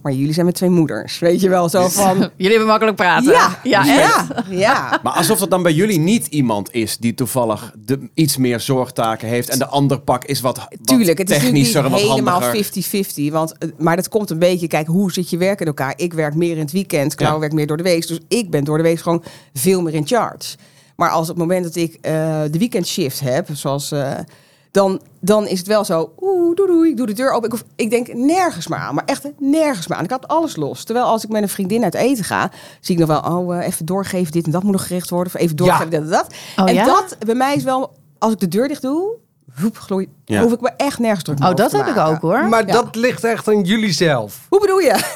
[SPEAKER 5] maar jullie zijn met twee moeders. Weet je wel, zo van.
[SPEAKER 2] Jullie hebben makkelijk praten.
[SPEAKER 5] Ja,
[SPEAKER 2] ja, echt?
[SPEAKER 5] ja, ja.
[SPEAKER 1] Maar alsof dat dan bij jullie niet iemand is die toevallig de, iets meer zorgtaken heeft en de ander pak is wat, wat
[SPEAKER 5] Tuurlijk, het is
[SPEAKER 1] technischer
[SPEAKER 5] natuurlijk
[SPEAKER 1] en
[SPEAKER 5] niet
[SPEAKER 1] wat
[SPEAKER 5] helemaal
[SPEAKER 1] handiger.
[SPEAKER 5] 50-50. Want, eh, maar dat komt een beetje, kijk, hoe zit je werk in elkaar? Ik werk meer in het weekend, Klauw
[SPEAKER 1] Ja.
[SPEAKER 5] werkt meer door de week. Dus ik ben door de week gewoon veel meer in charge. Maar als op het moment dat ik eh, de weekendshift heb, zoals... eh, dan, dan is het wel zo, oeh, doei, doei, ik doe de deur open. Ik, hoef- ik denk nergens maar aan, maar echt nergens maar aan. Ik had alles los. Terwijl als ik met een vriendin uit eten ga, zie ik nog wel, oh, eh, even doorgeven, dit en dat moet nog gericht worden. Of even doorgeven, dit en dat.
[SPEAKER 2] Oh,
[SPEAKER 5] en
[SPEAKER 2] ja?
[SPEAKER 5] dat, bij mij is wel, als ik de deur dicht doe, woep, gloei,
[SPEAKER 1] Ja.
[SPEAKER 5] hoef ik me echt nergens druk mee
[SPEAKER 2] Oh, dat
[SPEAKER 5] over te
[SPEAKER 2] heb ik
[SPEAKER 5] maken.
[SPEAKER 2] ook hoor.
[SPEAKER 3] Maar dat ligt echt aan jullie zelf.
[SPEAKER 5] Hoe bedoel je?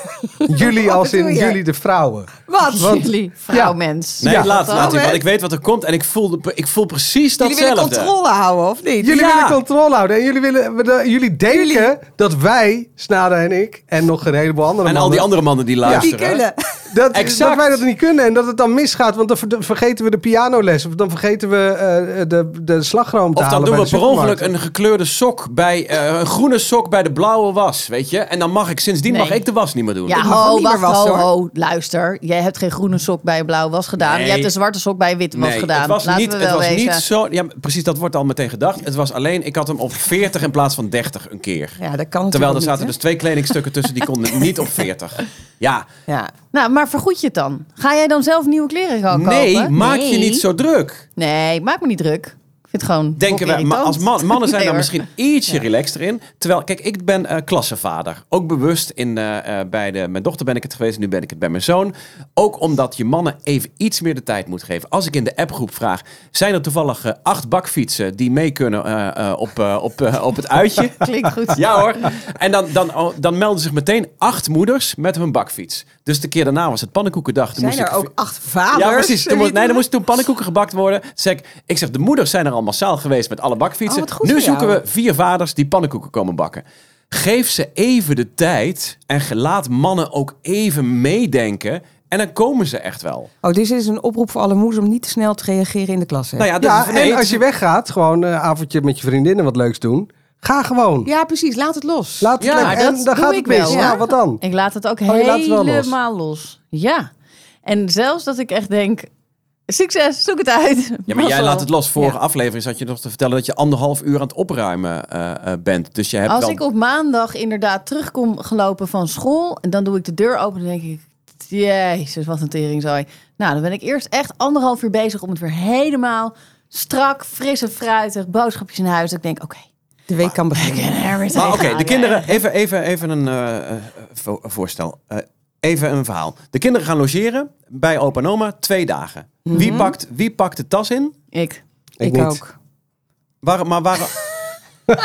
[SPEAKER 3] Jullie
[SPEAKER 5] Wat
[SPEAKER 3] als in
[SPEAKER 5] bedoel je?
[SPEAKER 3] jullie de vrouwen.
[SPEAKER 5] Wat?
[SPEAKER 2] jullie vrouwmens.
[SPEAKER 1] Nee,
[SPEAKER 3] Ja.
[SPEAKER 1] laat, laat
[SPEAKER 5] hè?
[SPEAKER 1] want ik weet wat er komt en ik voel, de- ik voel precies
[SPEAKER 5] Jullie willen
[SPEAKER 1] datzelfde.
[SPEAKER 5] controle houden, of niet?
[SPEAKER 3] Jullie
[SPEAKER 1] Ja.
[SPEAKER 3] willen controle houden. En jullie, willen, we- de- jullie denken
[SPEAKER 5] Jullie.
[SPEAKER 3] dat wij, Snada en ik, en nog een heleboel
[SPEAKER 1] en
[SPEAKER 3] andere
[SPEAKER 1] al
[SPEAKER 3] mannen,
[SPEAKER 1] die andere mannen die
[SPEAKER 5] Die
[SPEAKER 1] luisteren.
[SPEAKER 5] kunnen.
[SPEAKER 3] dat,
[SPEAKER 1] Exact.
[SPEAKER 3] dat wij dat niet kunnen. En dat het dan misgaat. Want dan ver- dan vergeten we de pianoles. Of dan vergeten we eh, de, de slagroom te
[SPEAKER 1] Of dan
[SPEAKER 3] halen
[SPEAKER 1] doen
[SPEAKER 3] bij
[SPEAKER 1] we
[SPEAKER 3] de
[SPEAKER 1] per ongeluk
[SPEAKER 3] supermarkt.
[SPEAKER 1] een gekleurde sok bij eh, een groene sok bij de blauwe was, weet je? En dan mag ik sindsdien
[SPEAKER 2] Nee.
[SPEAKER 1] mag ik de was niet meer doen.
[SPEAKER 2] Ja,
[SPEAKER 5] Ik mag hem
[SPEAKER 2] ho,
[SPEAKER 5] niet meer
[SPEAKER 2] wacht, ho,
[SPEAKER 5] wassen, hoor.
[SPEAKER 2] ho, luister. Jij hebt geen groene sok bij een blauwe was gedaan.
[SPEAKER 1] Nee.
[SPEAKER 2] Jij hebt een zwarte sok bij een witte was gedaan.
[SPEAKER 1] het was,
[SPEAKER 2] Laten
[SPEAKER 1] niet,
[SPEAKER 2] we
[SPEAKER 1] het
[SPEAKER 2] wel
[SPEAKER 1] was
[SPEAKER 2] wezen.
[SPEAKER 1] niet zo. Ja, precies, dat wordt al meteen gedacht. Het was alleen, ik had hem op 40 in plaats van 30 een keer.
[SPEAKER 5] Ja, dat kan
[SPEAKER 1] Terwijl er
[SPEAKER 5] natuurlijk
[SPEAKER 1] zaten
[SPEAKER 5] niet,
[SPEAKER 1] dus twee kledingstukken tussen die konden niet op 40. Ja,
[SPEAKER 5] hè? Ja.
[SPEAKER 2] Nou, maar vergoed je het dan? Ga jij dan zelf nieuwe kleren gaan
[SPEAKER 1] nee,
[SPEAKER 2] kopen?
[SPEAKER 1] maak je niet zo druk.
[SPEAKER 2] Nee, maak me niet druk. Ik vind het gewoon
[SPEAKER 1] Denken
[SPEAKER 2] we,
[SPEAKER 1] wij, maar als man, mannen zijn daar
[SPEAKER 2] hoor.
[SPEAKER 1] misschien ietsje relaxter in. Terwijl, kijk, ik ben eh klassenvader. Ook bewust in, eh, eh, bij de, mijn dochter ben ik het geweest, nu ben ik het bij mijn zoon. Ook omdat je mannen even iets meer de tijd moet geven. Als ik in de appgroep vraag, zijn er toevallig eh, acht bakfietsen die mee kunnen eh, eh, op, eh, op, eh, op het uitje?
[SPEAKER 2] Klinkt goed.
[SPEAKER 1] Ja hoor. En dan, dan, dan melden zich meteen acht moeders met hun bakfiets. Dus de keer daarna was het pannenkoekendag. Toen
[SPEAKER 5] Zijn
[SPEAKER 1] moest
[SPEAKER 5] er
[SPEAKER 1] ik-
[SPEAKER 5] ook acht vaders?
[SPEAKER 1] ja, precies. Toen, moest- nee, er
[SPEAKER 5] moest.
[SPEAKER 1] moesten toen pannenkoeken gebakt worden. Toen Zeg ik, ik zeg, de moeders zijn er al massaal geweest met alle bakfietsen.
[SPEAKER 5] Oh, wat goed
[SPEAKER 1] nu
[SPEAKER 5] voor
[SPEAKER 1] zoeken
[SPEAKER 5] jou.
[SPEAKER 1] we vier vaders die pannenkoeken komen bakken. Geef ze even de tijd en ge- laat mannen ook even meedenken. En dan komen ze echt wel.
[SPEAKER 5] Oh, dit is een oproep voor alle moeders om niet te snel te reageren in de klas. hè?
[SPEAKER 1] Nou ja, dus
[SPEAKER 3] Ja,
[SPEAKER 1] nee,
[SPEAKER 3] en als je weggaat, gewoon een avondje met je vriendinnen wat leuks doen. Ga gewoon.
[SPEAKER 5] Ja, precies. Laat het los.
[SPEAKER 3] Laat het
[SPEAKER 1] Ja,
[SPEAKER 3] lekker-
[SPEAKER 2] dat
[SPEAKER 3] en dan
[SPEAKER 2] doe
[SPEAKER 3] gaat
[SPEAKER 2] ik
[SPEAKER 3] het
[SPEAKER 2] wel,
[SPEAKER 3] mis.
[SPEAKER 2] hoor.
[SPEAKER 3] Ja, wat dan?
[SPEAKER 2] Ik laat het ook
[SPEAKER 1] Oh,
[SPEAKER 3] je laat het wel los.
[SPEAKER 2] helemaal los. Ja. En zelfs dat ik echt denk, succes, zoek het uit.
[SPEAKER 1] Ja, maar jij
[SPEAKER 2] Mazzel.
[SPEAKER 1] laat het los. Vorige
[SPEAKER 2] Ja.
[SPEAKER 1] aflevering zat je nog te vertellen dat je anderhalf uur aan het opruimen eh, eh, bent. Dus je hebt
[SPEAKER 2] Als
[SPEAKER 1] wel...
[SPEAKER 2] ik op maandag inderdaad terugkom gelopen van school... en dan doe ik de deur open en denk ik... Jezus, wat een teringzooi. Nou, dan ben ik eerst echt anderhalf uur bezig om het weer helemaal strak, fris en fruitig, boodschapjes in huis. Ik denk, oké.
[SPEAKER 5] De week kan
[SPEAKER 2] I
[SPEAKER 5] beginnen.
[SPEAKER 2] can hear it.
[SPEAKER 1] Maar oké,
[SPEAKER 2] Ja,
[SPEAKER 1] de
[SPEAKER 2] ja.
[SPEAKER 1] kinderen. Even, even, even een eh, eh, vo- voorstel. Eh, even een verhaal. De kinderen gaan logeren bij opa en oma twee dagen. wie, pakt, wie pakt de tas in?
[SPEAKER 2] Ik.
[SPEAKER 5] Ik,
[SPEAKER 3] niet.
[SPEAKER 5] ook.
[SPEAKER 1] Waar, maar waar,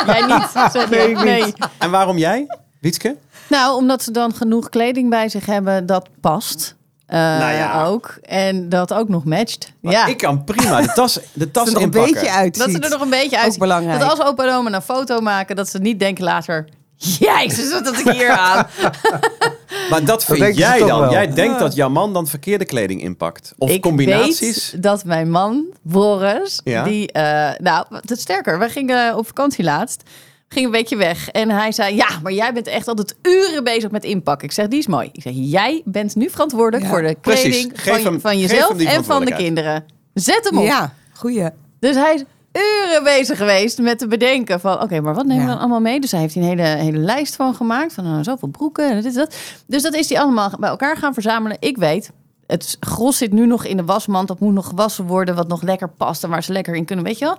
[SPEAKER 2] Jij niet. zeg je. nee.
[SPEAKER 1] en waarom jij, Wietske?
[SPEAKER 2] Nou, omdat ze dan genoeg kleding bij zich hebben dat past. Eh,
[SPEAKER 1] Nou ja.
[SPEAKER 2] Ook. En dat ook nog matcht.
[SPEAKER 1] Maar
[SPEAKER 2] ja.
[SPEAKER 1] Ik kan prima de tas, de tas
[SPEAKER 5] Dat er een
[SPEAKER 1] inpakken.
[SPEAKER 5] beetje uitziet.
[SPEAKER 2] dat ze er nog een beetje uit.
[SPEAKER 5] Ook belangrijk.
[SPEAKER 2] Dat als opa en oma een foto maken, dat ze niet denken later. Jezus, wat had ik hier aan?
[SPEAKER 1] Maar dat vind
[SPEAKER 3] denken ze
[SPEAKER 1] jij
[SPEAKER 3] toch
[SPEAKER 1] dan.
[SPEAKER 3] wel.
[SPEAKER 1] Jij denkt dat jouw man dan verkeerde kleding inpakt. Of
[SPEAKER 2] ik
[SPEAKER 1] combinaties.
[SPEAKER 2] weet dat mijn man, Boris,
[SPEAKER 1] Ja?
[SPEAKER 2] die... eh, nou, dat sterker. We gingen op vakantie laatst. Ging een beetje weg. En hij zei, ja, maar jij bent echt altijd uren bezig met inpakken. Ik zeg, die is mooi. Ik zeg, jij bent nu verantwoordelijk
[SPEAKER 5] Ja,
[SPEAKER 2] voor de
[SPEAKER 1] precies.
[SPEAKER 2] kleding
[SPEAKER 1] Geef
[SPEAKER 2] van,
[SPEAKER 1] hem-
[SPEAKER 2] van
[SPEAKER 1] geef
[SPEAKER 2] jezelf
[SPEAKER 1] hem die
[SPEAKER 2] en van de
[SPEAKER 1] verantwoordelijkheid.
[SPEAKER 2] kinderen. Zet hem op.
[SPEAKER 5] Ja, goeie.
[SPEAKER 2] Dus hij is uren bezig geweest met te bedenken van... oké, maar wat nemen we
[SPEAKER 5] Ja.
[SPEAKER 2] dan allemaal mee? Dus hij heeft hier een hele, hele lijst van gemaakt. Van nou, zoveel broeken en dit en dat. Dus dat is hij allemaal bij elkaar gaan verzamelen. Ik weet, het gros zit nu nog in de wasmand. Dat moet nog gewassen worden, wat nog lekker past... en waar ze lekker in kunnen, weet je wel.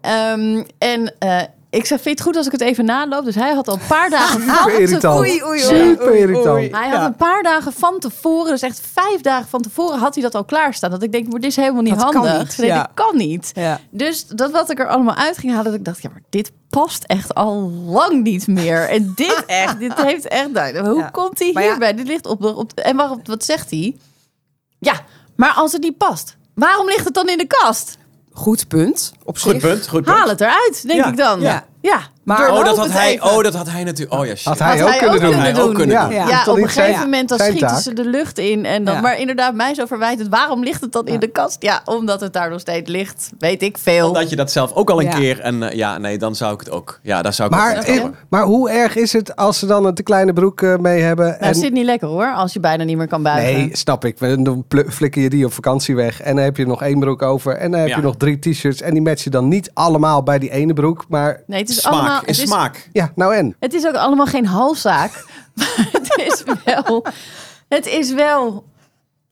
[SPEAKER 2] Ehm, en eh, ik zeg, vind je het goed als ik het even naloop? Dus hij had al een paar dagen van
[SPEAKER 3] Super irritant.
[SPEAKER 2] tevoren...
[SPEAKER 5] Oei, oei, oei.
[SPEAKER 3] Super
[SPEAKER 5] Oei,
[SPEAKER 3] irritant.
[SPEAKER 5] oei.
[SPEAKER 2] Hij had een paar dagen van tevoren, dus echt vijf dagen van tevoren... had hij dat al klaarstaan. Dat ik denk, maar dit is helemaal niet
[SPEAKER 5] Dat kan
[SPEAKER 2] handig.
[SPEAKER 5] niet,
[SPEAKER 2] Nee,
[SPEAKER 5] ja.
[SPEAKER 2] dit kan niet.
[SPEAKER 5] Ja.
[SPEAKER 2] Dus dat wat ik er allemaal uit ging halen, dat ik dacht, ja, maar dit past echt al lang niet meer. En dit echt, dit heeft echt, nou, hoe
[SPEAKER 5] Ja.
[SPEAKER 2] komt hij
[SPEAKER 5] Maar ja.
[SPEAKER 2] hierbij? Dit ligt op de, op de- en waarom, wat zegt hij? Ja, maar als het niet past, waarom ligt het dan in de kast?
[SPEAKER 5] Goed punt. Op
[SPEAKER 1] Goed
[SPEAKER 5] zich.
[SPEAKER 1] punt, goed punt.
[SPEAKER 2] Haal het eruit, denk
[SPEAKER 1] Ja,
[SPEAKER 2] ik dan.
[SPEAKER 1] ja.
[SPEAKER 2] Ja,
[SPEAKER 5] Maar-
[SPEAKER 2] doorloop
[SPEAKER 1] Oh, dat had
[SPEAKER 2] het
[SPEAKER 1] hij,
[SPEAKER 2] even.
[SPEAKER 1] oh, dat had hij natuurlijk. Oh ja, shit.
[SPEAKER 3] Had hij
[SPEAKER 2] Had
[SPEAKER 3] ook
[SPEAKER 2] hij
[SPEAKER 3] kunnen
[SPEAKER 2] ook
[SPEAKER 3] doen.
[SPEAKER 2] kunnen
[SPEAKER 1] Hij ook
[SPEAKER 2] doen.
[SPEAKER 1] kunnen doen.
[SPEAKER 5] Ja,
[SPEAKER 2] Ja,
[SPEAKER 3] dat is toch
[SPEAKER 2] op een
[SPEAKER 3] niet zijn-
[SPEAKER 2] gegeven moment dan
[SPEAKER 3] zijn
[SPEAKER 2] schieten
[SPEAKER 3] taak?
[SPEAKER 2] ze de lucht in. En dan,
[SPEAKER 5] Ja.
[SPEAKER 2] Maar inderdaad, mij zo verwijtend. Waarom ligt het dan in de kast? Ja, omdat het daar nog steeds ligt. Weet ik veel.
[SPEAKER 1] Omdat je dat zelf ook al een
[SPEAKER 5] Ja.
[SPEAKER 1] keer. En eh, ja, nee, dan zou ik het ook. Ja, daar zou ik ook
[SPEAKER 3] Maar,
[SPEAKER 1] echt over.
[SPEAKER 3] eh, maar hoe erg is het als ze dan een te kleine broek eh, mee hebben?
[SPEAKER 2] Nou,
[SPEAKER 3] en-
[SPEAKER 2] het zit niet lekker hoor, als je bijna niet meer kan buigen.
[SPEAKER 3] Nee, snap ik. Dan pl- flikker je die op vakantie weg. En dan heb je nog één broek over. En dan heb
[SPEAKER 1] Ja.
[SPEAKER 3] je nog drie t-shirts. En die match je dan niet allemaal bij die ene broek. Maar
[SPEAKER 2] Nee, het is
[SPEAKER 1] smaak
[SPEAKER 2] allemaal.
[SPEAKER 1] is
[SPEAKER 2] Het is,
[SPEAKER 1] smaak.
[SPEAKER 3] ja, nou en?
[SPEAKER 2] het is ook allemaal geen halszaak. maar het is wel. Het is wel.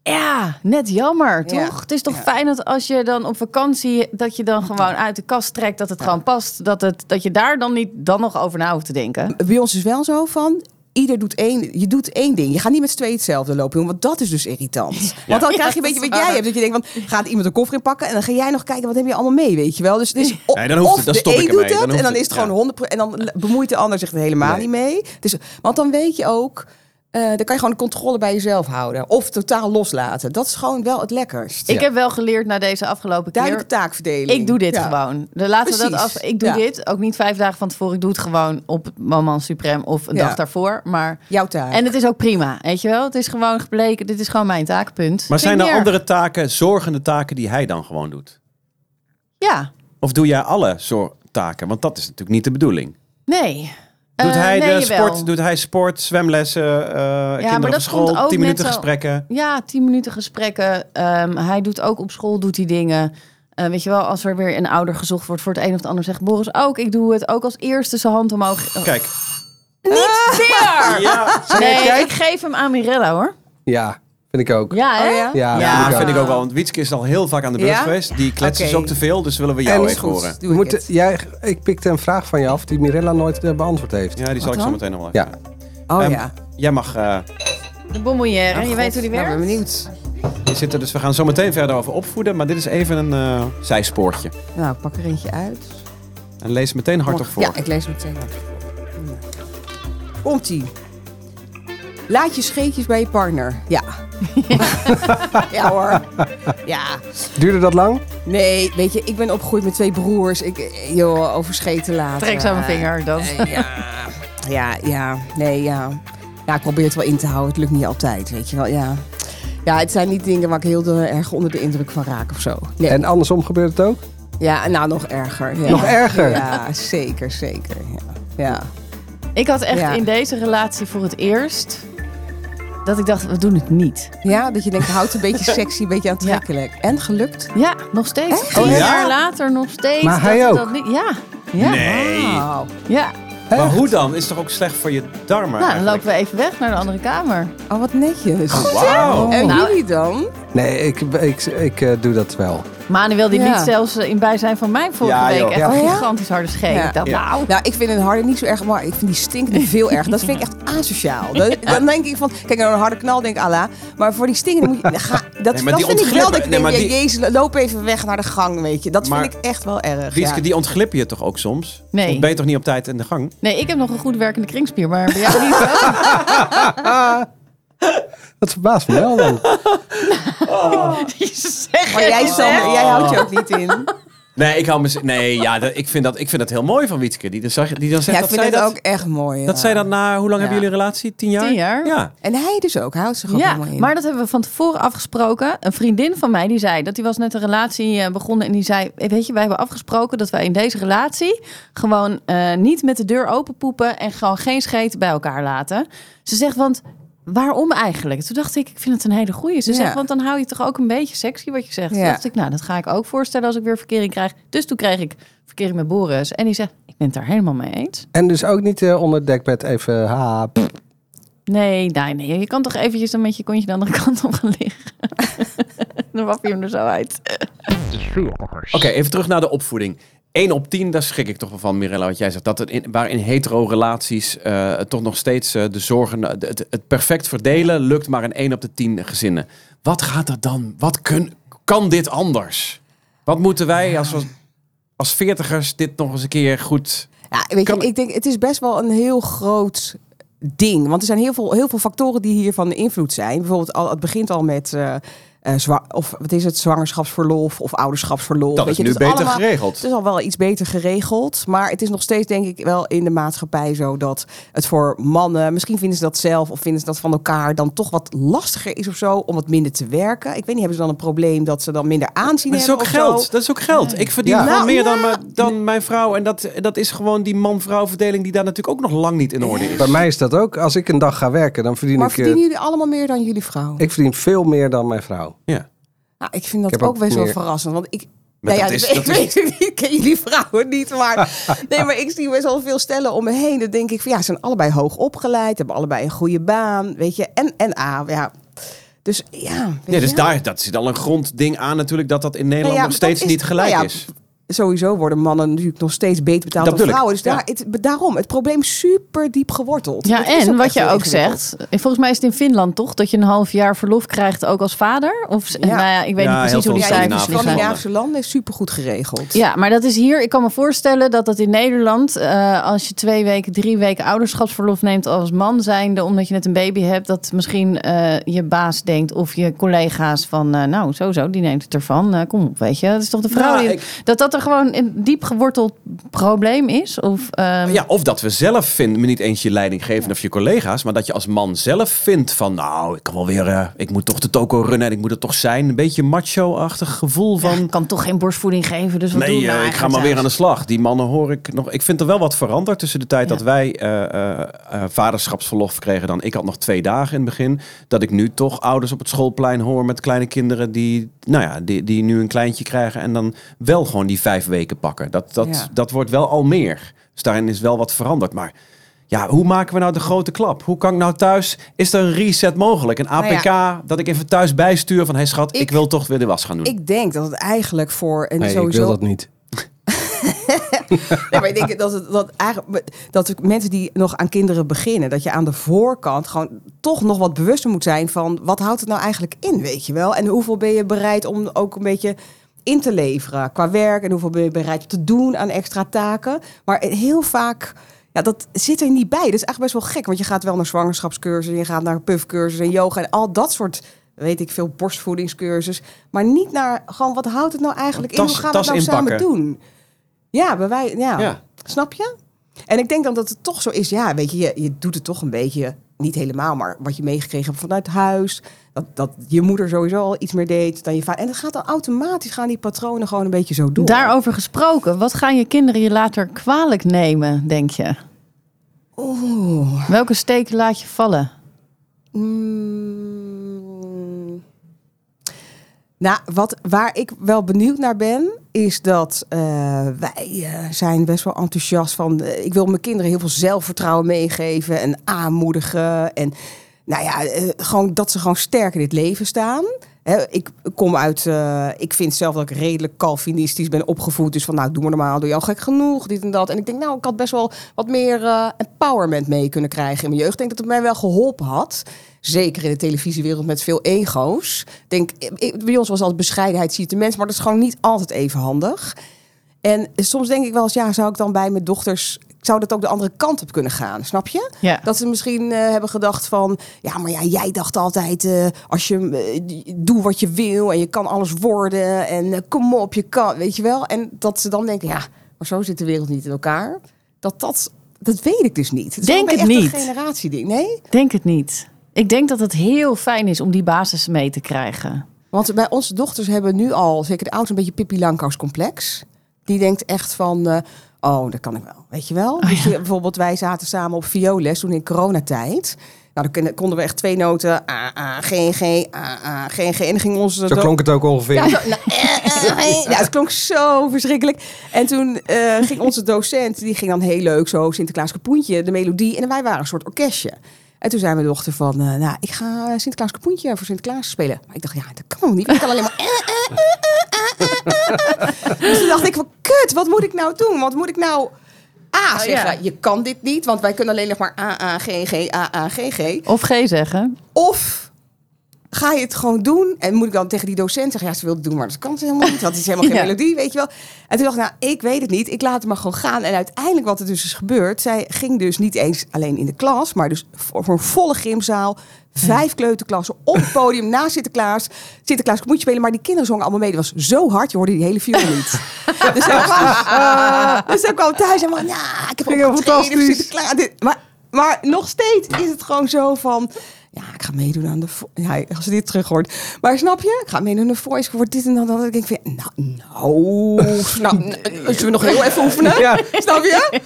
[SPEAKER 2] Ja, net jammer, toch?
[SPEAKER 5] Ja.
[SPEAKER 2] Het is toch fijn dat als je dan op vakantie... dat je dan gewoon uit de kast trekt, dat het gewoon past. Dat, het, dat je daar dan niet dan nog over na hoeft te denken.
[SPEAKER 5] Bij ons is wel zo van. Ieder doet één, je doet één ding. Je gaat niet met z'n tweeën hetzelfde lopen doen, want dat is dus irritant. Want dan
[SPEAKER 2] Ja,
[SPEAKER 5] krijg je een
[SPEAKER 2] dat is
[SPEAKER 5] beetje wat jij
[SPEAKER 2] waar.
[SPEAKER 5] hebt. Dat je denkt, van, gaat iemand een koffer inpakken en dan ga jij nog kijken, wat heb je allemaal mee, weet je wel. Dus het is o-
[SPEAKER 1] Nee, dan hoeft
[SPEAKER 5] of
[SPEAKER 1] het, dan
[SPEAKER 5] de
[SPEAKER 1] stop
[SPEAKER 5] een
[SPEAKER 1] ik
[SPEAKER 5] doet
[SPEAKER 1] ermee. Dan
[SPEAKER 5] het en
[SPEAKER 1] hoeft
[SPEAKER 5] dan
[SPEAKER 1] het,
[SPEAKER 5] is het gewoon
[SPEAKER 1] ja.
[SPEAKER 5] 100 en dan le- bemoeit de ander zich er helemaal
[SPEAKER 1] Nee.
[SPEAKER 5] niet mee. Dus, want dan weet je ook, eh, dan kan je gewoon de controle bij jezelf houden. Of totaal loslaten. Dat is gewoon wel het lekkerst.
[SPEAKER 2] Ik heb wel geleerd na deze afgelopen keer...
[SPEAKER 5] Duidelijke taakverdeling.
[SPEAKER 2] Ik doe dit
[SPEAKER 5] Ja.
[SPEAKER 2] gewoon. Dan laten we dat
[SPEAKER 5] Precies.
[SPEAKER 2] af. Ik doe
[SPEAKER 5] Ja.
[SPEAKER 2] dit, ook niet vijf dagen van tevoren. Ik doe het gewoon op het moment suprem of een
[SPEAKER 5] Ja.
[SPEAKER 2] dag daarvoor. Maar
[SPEAKER 5] Jouw taak.
[SPEAKER 2] En het is ook prima, weet je wel? Het is gewoon gebleken, dit is gewoon mijn taakpunt.
[SPEAKER 1] Maar
[SPEAKER 2] Vind
[SPEAKER 1] zijn
[SPEAKER 2] ik
[SPEAKER 1] er
[SPEAKER 2] niet erg.
[SPEAKER 1] andere taken, zorgende taken die hij dan gewoon doet?
[SPEAKER 2] Ja,
[SPEAKER 1] Of doe jij alle soort taken? Want dat is natuurlijk niet de bedoeling.
[SPEAKER 2] nee.
[SPEAKER 1] Doet
[SPEAKER 2] Eh,
[SPEAKER 1] hij
[SPEAKER 2] nee,
[SPEAKER 1] de
[SPEAKER 2] jawel.
[SPEAKER 1] sport, doet hij sport, zwemlessen, eh kinderen op
[SPEAKER 2] dat komt
[SPEAKER 1] school,
[SPEAKER 2] ook
[SPEAKER 1] 10 minuten
[SPEAKER 2] net zo-
[SPEAKER 1] gesprekken?
[SPEAKER 2] Ja, tien minuten gesprekken. Ehm, hij doet ook op school doet hij dingen. Eh, weet je wel, als er weer een ouder gezocht wordt voor het een of het ander, zegt Boris ook, ik doe het. Ook als eerste zijn hand omhoog. Oh,
[SPEAKER 1] Kijk,
[SPEAKER 2] Niet weer!
[SPEAKER 1] ja,
[SPEAKER 2] Nee, ik geef hem aan Mirella hoor.
[SPEAKER 3] Ja, vind ik ook.
[SPEAKER 2] Ja, hè?
[SPEAKER 5] Oh ja?
[SPEAKER 3] Ja,
[SPEAKER 1] ja,
[SPEAKER 3] vind ik ook.
[SPEAKER 1] vind ik ook wel. Want Wietske is al heel vaak aan de beurt
[SPEAKER 5] Ja?
[SPEAKER 1] geweest. Die kletsen
[SPEAKER 5] Oké.
[SPEAKER 1] ook te veel, dus willen we jou
[SPEAKER 3] En-
[SPEAKER 1] even
[SPEAKER 5] Goed,
[SPEAKER 1] horen.
[SPEAKER 5] doe
[SPEAKER 3] We
[SPEAKER 5] ik
[SPEAKER 3] moeten,
[SPEAKER 5] het.
[SPEAKER 3] jij, ik pikte een vraag van je af die Mirella nooit eh, beantwoord heeft.
[SPEAKER 1] Ja, die zal ik zo
[SPEAKER 5] dan?
[SPEAKER 1] meteen nog wel
[SPEAKER 3] Ja.
[SPEAKER 1] even.
[SPEAKER 5] Oh
[SPEAKER 1] Ehm,
[SPEAKER 5] ja.
[SPEAKER 1] Jij mag eh,
[SPEAKER 2] De bonbonnière, je weet hoe die
[SPEAKER 5] Nou,
[SPEAKER 2] werkt.
[SPEAKER 5] ben benieuwd.
[SPEAKER 1] hier zitten, dus we gaan zo meteen verder over opvoeden. Maar dit is even een eh, zijspoortje.
[SPEAKER 5] Nou, ik pak er eentje uit.
[SPEAKER 1] En lees meteen hardop voor.
[SPEAKER 5] Ja, ik lees hem meteen. Komt ie. Laat je scheetjes bij je partner. Ja. ja hoor. Ja.
[SPEAKER 3] Duurde dat lang?
[SPEAKER 5] Nee, weet je, ik ben opgegroeid met twee broers. Ik, eh, joh, over scheten laten.
[SPEAKER 2] Trek zo mijn vinger, dat.
[SPEAKER 5] Eh, ja. ja, ja. Nee, ja. Ja, ik probeer het wel in te houden. Het lukt niet altijd, weet je wel. Ja. Ja, het zijn niet dingen waar ik heel de- erg onder de indruk van raak of zo. Nee.
[SPEAKER 3] En andersom gebeurt het ook?
[SPEAKER 5] Ja, nou, nog erger. Ja.
[SPEAKER 3] Nog erger?
[SPEAKER 5] Ja, zeker, zeker. Ja. ja.
[SPEAKER 2] Ik had echt
[SPEAKER 5] Ja.
[SPEAKER 2] in deze relatie voor het eerst dat ik dacht, we doen het niet.
[SPEAKER 5] Ja, dat je denkt, houdt een beetje sexy, een beetje aantrekkelijk. En gelukt?
[SPEAKER 2] Ja, nog steeds.
[SPEAKER 5] Echt?
[SPEAKER 2] Tien
[SPEAKER 1] Ja?
[SPEAKER 2] jaar later nog steeds.
[SPEAKER 3] Maar hij
[SPEAKER 2] ik
[SPEAKER 3] ook?
[SPEAKER 2] niet- ja. Ja.
[SPEAKER 1] Nee.
[SPEAKER 5] Wauw.
[SPEAKER 2] ja.
[SPEAKER 1] Maar hoe dan? Is toch ook slecht voor je darmen?
[SPEAKER 2] Nou, dan
[SPEAKER 1] eigenlijk?
[SPEAKER 2] lopen we even weg naar de andere kamer.
[SPEAKER 5] Oh, wat netjes.
[SPEAKER 1] Wauw.
[SPEAKER 5] En
[SPEAKER 2] Nou,
[SPEAKER 5] jullie dan?
[SPEAKER 3] Nee, ik, ik, ik eh, doe dat wel.
[SPEAKER 2] Manuel die
[SPEAKER 5] Ja.
[SPEAKER 2] liet zelfs eh, in bijzijn van mijn vorige
[SPEAKER 1] Ja,
[SPEAKER 2] week
[SPEAKER 1] joh.
[SPEAKER 2] echt
[SPEAKER 3] Ja.
[SPEAKER 2] een
[SPEAKER 5] Oh, ja?
[SPEAKER 2] gigantisch harde scheet.
[SPEAKER 5] Ja.
[SPEAKER 2] Ik dacht,
[SPEAKER 1] Ja.
[SPEAKER 2] nou,
[SPEAKER 5] Nou, ik vind een harde niet zo erg, maar ik vind die stinkende veel erg. Dat vind ik echt asociaal. Dat- dan denk ik van, kijk, naar een harde knal denk ik, ala. Maar voor die stinkende moet je... Ga, dat
[SPEAKER 1] Nee, maar
[SPEAKER 5] dat
[SPEAKER 1] die
[SPEAKER 5] vind ik wel dat ik
[SPEAKER 1] ontglippen. Nee,
[SPEAKER 5] denk,
[SPEAKER 1] maar
[SPEAKER 5] ja,
[SPEAKER 1] die-
[SPEAKER 5] jezus, loop even weg naar de gang, weet je. Dat
[SPEAKER 1] Maar-
[SPEAKER 5] vind ik echt wel erg,
[SPEAKER 1] Rieske,
[SPEAKER 5] ja.
[SPEAKER 1] die ontglippen je toch ook soms?
[SPEAKER 2] Nee.
[SPEAKER 1] Want Ben je toch niet op tijd in de gang?
[SPEAKER 2] nee, ik heb nog een goed werkende kringspier, maar bij jou niet. hè?
[SPEAKER 3] Dat verbaast me wel dan.
[SPEAKER 2] Jezus, zeg
[SPEAKER 5] Maar
[SPEAKER 2] het
[SPEAKER 5] jij,
[SPEAKER 2] eens, hè?
[SPEAKER 5] Sander, jij houdt je ook niet in.
[SPEAKER 1] Nee, ik, hou me, nee ja, dat- ik, vind dat, ik vind dat heel mooi van Wietske. Die, dan zag- die dan
[SPEAKER 5] Ja,
[SPEAKER 1] zegt
[SPEAKER 5] ik
[SPEAKER 1] dat,
[SPEAKER 5] vind
[SPEAKER 1] zij
[SPEAKER 5] het
[SPEAKER 1] dat,
[SPEAKER 5] ook echt mooi. ja.
[SPEAKER 1] dat zij dat na... Hoe lang
[SPEAKER 5] Ja.
[SPEAKER 1] hebben jullie een relatie? Tien jaar?
[SPEAKER 2] Tien jaar.
[SPEAKER 1] Ja.
[SPEAKER 5] En hij dus ook, hij houdt zich ook
[SPEAKER 2] Ja,
[SPEAKER 5] helemaal in.
[SPEAKER 2] maar dat hebben we van tevoren afgesproken. Een vriendin van mij die zei dat die was net een relatie eh, begonnen en die zei: "Eh, weet je, wij hebben afgesproken dat wij in deze relatie gewoon eh, niet met de deur open poepen en gewoon geen scheet bij elkaar laten. Ze zegt want waarom eigenlijk? Toen dacht ik, ik vind het een hele goeie. Ze
[SPEAKER 5] Ja.
[SPEAKER 2] zegt want dan hou je toch ook een beetje sexy wat je zegt. Toen
[SPEAKER 5] Ja.
[SPEAKER 2] dacht ik, nou dat ga ik ook voorstellen als ik weer verkering krijg. Dus toen kreeg ik verkering met Boris en die zegt, ik ben het daar helemaal mee eens.
[SPEAKER 3] En dus ook niet eh, onder het dekbed even... Ha, pff.
[SPEAKER 2] Nee, nee, nee. Je kan toch eventjes dan met je kontje de andere kant op gaan liggen. dan wap je hem er zo uit.
[SPEAKER 1] Oké, even terug naar de opvoeding. 1 op 10, daar schrik ik toch wel van, Mirella, wat jij zegt. Dat het in, waarin hetero-relaties eh, toch nog steeds eh, de zorgen... eh, de- Het, het perfect verdelen lukt maar in 1 op de 10 gezinnen. Wat gaat er dan? Wat kun, kan dit anders? Wat moeten wij als, als, als veertigers dit nog eens een keer goed...
[SPEAKER 5] Ja, weet je,
[SPEAKER 1] Kan-
[SPEAKER 5] ik denk, het is best wel een heel groot ding. Want er zijn heel veel, heel veel factoren die hiervan de invloed zijn. Bijvoorbeeld, al, het begint al met... eh, eh, zwa- of wat is het, zwangerschapsverlof of ouderschapsverlof.
[SPEAKER 1] Dat
[SPEAKER 5] weet
[SPEAKER 1] is
[SPEAKER 5] je,
[SPEAKER 1] nu
[SPEAKER 5] het
[SPEAKER 1] beter
[SPEAKER 5] allemaal-
[SPEAKER 1] geregeld.
[SPEAKER 5] Het is al wel iets beter geregeld. Maar het is nog steeds, denk ik, wel in de maatschappij zo dat het voor mannen, misschien vinden ze dat zelf of vinden ze dat van elkaar, dan toch wat lastiger is of zo om wat minder te werken. Ik weet niet, hebben ze dan een probleem dat ze dan minder aanzien
[SPEAKER 1] Maar dat is
[SPEAKER 5] hebben?
[SPEAKER 1] ook
[SPEAKER 5] of zo?
[SPEAKER 1] geld. Dat is ook geld. Ik verdien
[SPEAKER 3] Ja.
[SPEAKER 1] gewoon
[SPEAKER 5] Nou,
[SPEAKER 1] meer dan,
[SPEAKER 5] ja.
[SPEAKER 1] mijn- dan mijn vrouw. En dat, dat is gewoon die man-vrouw verdeling die daar natuurlijk ook nog lang niet in orde is.
[SPEAKER 3] Bij mij is dat ook. Als ik een dag ga werken, dan verdien
[SPEAKER 5] Maar
[SPEAKER 3] ik... eh,
[SPEAKER 5] verdienen jullie allemaal meer dan jullie vrouw?
[SPEAKER 3] ik verdien veel meer dan mijn vrouw.
[SPEAKER 1] Ja.
[SPEAKER 5] Nou, ik vind dat
[SPEAKER 3] Ik heb
[SPEAKER 5] ook,
[SPEAKER 3] ook
[SPEAKER 5] best wel
[SPEAKER 3] meer-
[SPEAKER 5] verrassend. Want ik.
[SPEAKER 1] Maar
[SPEAKER 5] Nou ja,
[SPEAKER 1] dat is-
[SPEAKER 5] ik
[SPEAKER 1] dat
[SPEAKER 5] weet het niet, ik ken jullie vrouwen niet, maar... Nee, maar ik zie best wel veel stellen om me heen. Dan denk ik van, ja, ze zijn allebei hoog opgeleid. Hebben allebei een goede baan, weet je. En, en A, ja. Dus ja, weet
[SPEAKER 1] Ja,
[SPEAKER 5] je,
[SPEAKER 1] dus
[SPEAKER 5] ja.
[SPEAKER 1] daar dat zit al een grondding aan natuurlijk dat dat in Nederland
[SPEAKER 5] Nou ja,
[SPEAKER 1] nog
[SPEAKER 5] maar dat
[SPEAKER 1] steeds
[SPEAKER 5] is-
[SPEAKER 1] niet gelijk
[SPEAKER 5] nou ja,
[SPEAKER 1] is.
[SPEAKER 5] Sowieso worden mannen natuurlijk nog steeds beter betaald
[SPEAKER 1] Dat
[SPEAKER 5] dan
[SPEAKER 1] bedoel
[SPEAKER 5] vrouwen.
[SPEAKER 1] ik,
[SPEAKER 5] Dus daar, het, daarom, het probleem is super diep geworteld.
[SPEAKER 2] Ja,
[SPEAKER 5] Dat is
[SPEAKER 2] en wat
[SPEAKER 5] echt
[SPEAKER 2] je
[SPEAKER 5] heel
[SPEAKER 2] ook
[SPEAKER 5] ingewikkeld.
[SPEAKER 2] zegt. eh, Volgens mij is het in Finland toch dat je een half jaar verlof krijgt ook als vader? Of ja.
[SPEAKER 5] Ja.
[SPEAKER 2] nou ja, ik weet
[SPEAKER 1] Ja,
[SPEAKER 2] niet precies
[SPEAKER 1] heel
[SPEAKER 2] hoe die
[SPEAKER 1] veel
[SPEAKER 5] Ja, in de
[SPEAKER 2] cijfers nu zijn.
[SPEAKER 1] Scandinavië.
[SPEAKER 5] Scandinavische landen is supergoed geregeld.
[SPEAKER 2] Ja, maar dat is hier. Ik kan me voorstellen dat dat in Nederland, eh, als je twee weken, drie weken ouderschapsverlof neemt als man zijnde, omdat je net een baby hebt, dat misschien eh, je baas denkt of je collega's van, eh, nou, sowieso, die neemt het ervan. Eh, kom op, weet je, dat is toch de vrouw.
[SPEAKER 1] Nou,
[SPEAKER 2] die-
[SPEAKER 1] ik-
[SPEAKER 2] Dat dat er gewoon een diep geworteld probleem is. Of, ehm,
[SPEAKER 1] Nou Ja, of dat we zelf vinden, maar niet eens je leidinggevende of je collega's, maar dat je als man zelf vindt van nou, ik kan wel weer, eh, ik moet toch de toko runnen en ik moet het toch zijn. Een beetje macho-achtig gevoel
[SPEAKER 2] ja,
[SPEAKER 1] van
[SPEAKER 2] ik kan toch geen borstvoeding geven, dus wat
[SPEAKER 1] nee,
[SPEAKER 2] doen we
[SPEAKER 1] eh,
[SPEAKER 2] nou
[SPEAKER 1] ik ga
[SPEAKER 2] eigenlijk
[SPEAKER 1] maar weer aan
[SPEAKER 2] zelfs?
[SPEAKER 1] de slag. Die mannen hoor ik nog. Ik vind er wel wat veranderd tussen de tijd
[SPEAKER 2] Ja.
[SPEAKER 1] dat wij eh, eh, eh, vaderschapsverlof kregen. Dan ik had nog twee dagen in het begin. Dat ik nu toch ouders op het schoolplein hoor met kleine kinderen die, nou ja, die, die nu een kleintje krijgen en dan wel gewoon die vijf weken pakken. Dat, dat,
[SPEAKER 5] Ja.
[SPEAKER 1] dat wordt wel al meer. Dus daarin is wel wat veranderd. Maar ja, hoe maken we nou de grote klap? Hoe kan ik nou thuis? Is er een reset mogelijk? Een
[SPEAKER 5] Nou ja.
[SPEAKER 1] APK dat ik even thuis bijstuur van, hé hey schat, ik,
[SPEAKER 5] Ik-
[SPEAKER 1] wil toch weer de was gaan doen.
[SPEAKER 5] Ik denk dat het eigenlijk voor... En
[SPEAKER 3] Nee, ik
[SPEAKER 5] sowieso,
[SPEAKER 3] wil dat niet.
[SPEAKER 5] Ja, maar ik denk dat, het, dat, eigenlijk, dat ook mensen die nog aan kinderen beginnen, dat je aan de voorkant gewoon toch nog wat bewuster moet zijn van wat houdt het nou eigenlijk in, weet je wel? En hoeveel ben je bereid om ook een beetje in te leveren qua werk en hoeveel ben je bereid te doen aan extra taken? Maar heel vaak. Ja, dat zit er niet bij. Dat is echt best wel gek. Want je gaat wel naar zwangerschapscursussen, je gaat naar puffcursussen en yoga en al dat soort, weet ik veel, borstvoedingscursus. Maar niet naar gewoon, wat houdt het nou eigenlijk in? Hoe
[SPEAKER 1] Tas-
[SPEAKER 5] gaan we het
[SPEAKER 1] tas
[SPEAKER 5] nou samen
[SPEAKER 1] inpakken.
[SPEAKER 5] doen? Ja, bij wij, ja.
[SPEAKER 1] Ja.
[SPEAKER 5] Snap je? En ik denk dan dat het toch zo is. Ja, weet je, je, je doet het toch een beetje, niet helemaal, maar wat je meegekregen hebt vanuit huis. Dat, dat je moeder sowieso al iets meer deed dan je vader. En dat gaat dan automatisch, gaan die patronen gewoon een beetje zo door.
[SPEAKER 2] Daarover gesproken, wat gaan je kinderen je later kwalijk nemen, denk je? Oeh. Welke steek laat je vallen?
[SPEAKER 5] Mm. Nou, wat, waar ik wel benieuwd naar ben, is dat eh, wij eh, zijn best wel enthousiast van... eh, ik wil mijn kinderen heel veel zelfvertrouwen meegeven en aanmoedigen. En nou ja, eh, gewoon dat ze gewoon sterk in het leven staan. Hè, ik kom uit... eh, ik vind zelf dat ik redelijk calvinistisch ben opgevoed. Dus van, nou, doe maar normaal, doe je al gek genoeg, dit en dat. En ik denk, nou, ik had best wel wat meer eh, empowerment mee kunnen krijgen in mijn jeugd. Ik denk dat het mij wel geholpen had. Zeker in de televisiewereld met veel ego's. Ik Denk, ik- bij ons was altijd bescheidenheid, ziet de mens, maar dat is gewoon niet altijd even handig. En soms denk ik wel eens, ja, zou ik dan bij mijn dochters, zou dat ook de andere kant op kunnen gaan, snap je?
[SPEAKER 2] Ja.
[SPEAKER 5] Dat ze misschien eh, hebben gedacht van, ja, maar ja, jij dacht altijd, eh, als je eh, doe wat je wil en je kan alles worden en eh, kom op, je kan, weet je wel? En dat ze dan denken, ja, maar zo zit de wereld niet in elkaar. Dat dat, dat weet ik dus niet. Het is
[SPEAKER 2] Denk
[SPEAKER 5] wel
[SPEAKER 2] het
[SPEAKER 5] echt
[SPEAKER 2] niet.
[SPEAKER 5] Een generatieding, nee?
[SPEAKER 2] Denk het niet. Ik denk dat het heel fijn is om die basis mee te krijgen.
[SPEAKER 5] Want bij onze dochters hebben nu al, zeker de oudste, een beetje Pippi Langkous complex. Die denkt echt van, eh, oh, dat kan ik wel, weet je wel. Dus, eh, Bijvoorbeeld, wij zaten samen op vioolles toen in coronatijd. Nou, dan kon- konden we echt twee noten, A, A, G, G, A, A, G, G. En dan ging onze...
[SPEAKER 3] Zo
[SPEAKER 5] do-
[SPEAKER 3] klonk het ook ongeveer.
[SPEAKER 5] ja, zo- nou, eh, eh, eh. Ja, het klonk zo verschrikkelijk. En toen eh, ging onze docent, die ging dan heel leuk zo Sinterklaas Kapoentje, de melodie. En wij waren een soort orkestje. En toen zei mijn dochter van, eh, nou, ik ga Sinterklaas Kapoentje voor Sinterklaas spelen. Maar ik dacht, ja, dat kan ook niet. want Ik kan alleen maar... eh, eh, eh, eh, eh, eh, eh. Dus toen dacht ik van, kut, wat moet ik nou doen? Wat moet ik nou... A, zeggen,
[SPEAKER 2] ja.
[SPEAKER 5] je kan dit niet, want wij kunnen alleen nog maar A, A, G, G, A, A, G, G.
[SPEAKER 2] Of G zeggen.
[SPEAKER 5] Of ga je het gewoon doen? En moet ik dan tegen die docent zeggen, ja, ze wil het doen, maar dat kan ze helemaal niet. Want het is helemaal geen
[SPEAKER 2] Ja.
[SPEAKER 5] melodie, weet je wel. En toen dacht ik, nou, ik weet het niet. Ik laat het maar gewoon gaan. En uiteindelijk wat er dus is gebeurd, zij ging dus niet eens alleen in de klas, maar dus voor, voor een volle gymzaal, vijf kleuterklassen op het podium na Sinterklaas. Sinterklaas moet je spelen, maar die kinderen zongen allemaal mee. Dat was zo hard, je hoorde die hele viool niet. dus, zij kwam, dus zij kwam thuis en van, ja, ik heb
[SPEAKER 3] Ging heel
[SPEAKER 5] opgetreden voor
[SPEAKER 3] fantastisch.
[SPEAKER 5] Sinterklaas. Ja, dit- maar, maar nog steeds is het gewoon zo van... Ja, ik ga meedoen aan de... vo- Ja, als ze dit terug hoort. Maar snap je? Ik ga meedoen aan de voice. Ik word dit en dan dat. Ik denk van... Nou, nou... snap- nou, zullen we nog heel even oefenen?
[SPEAKER 3] Ja.
[SPEAKER 5] Snap je?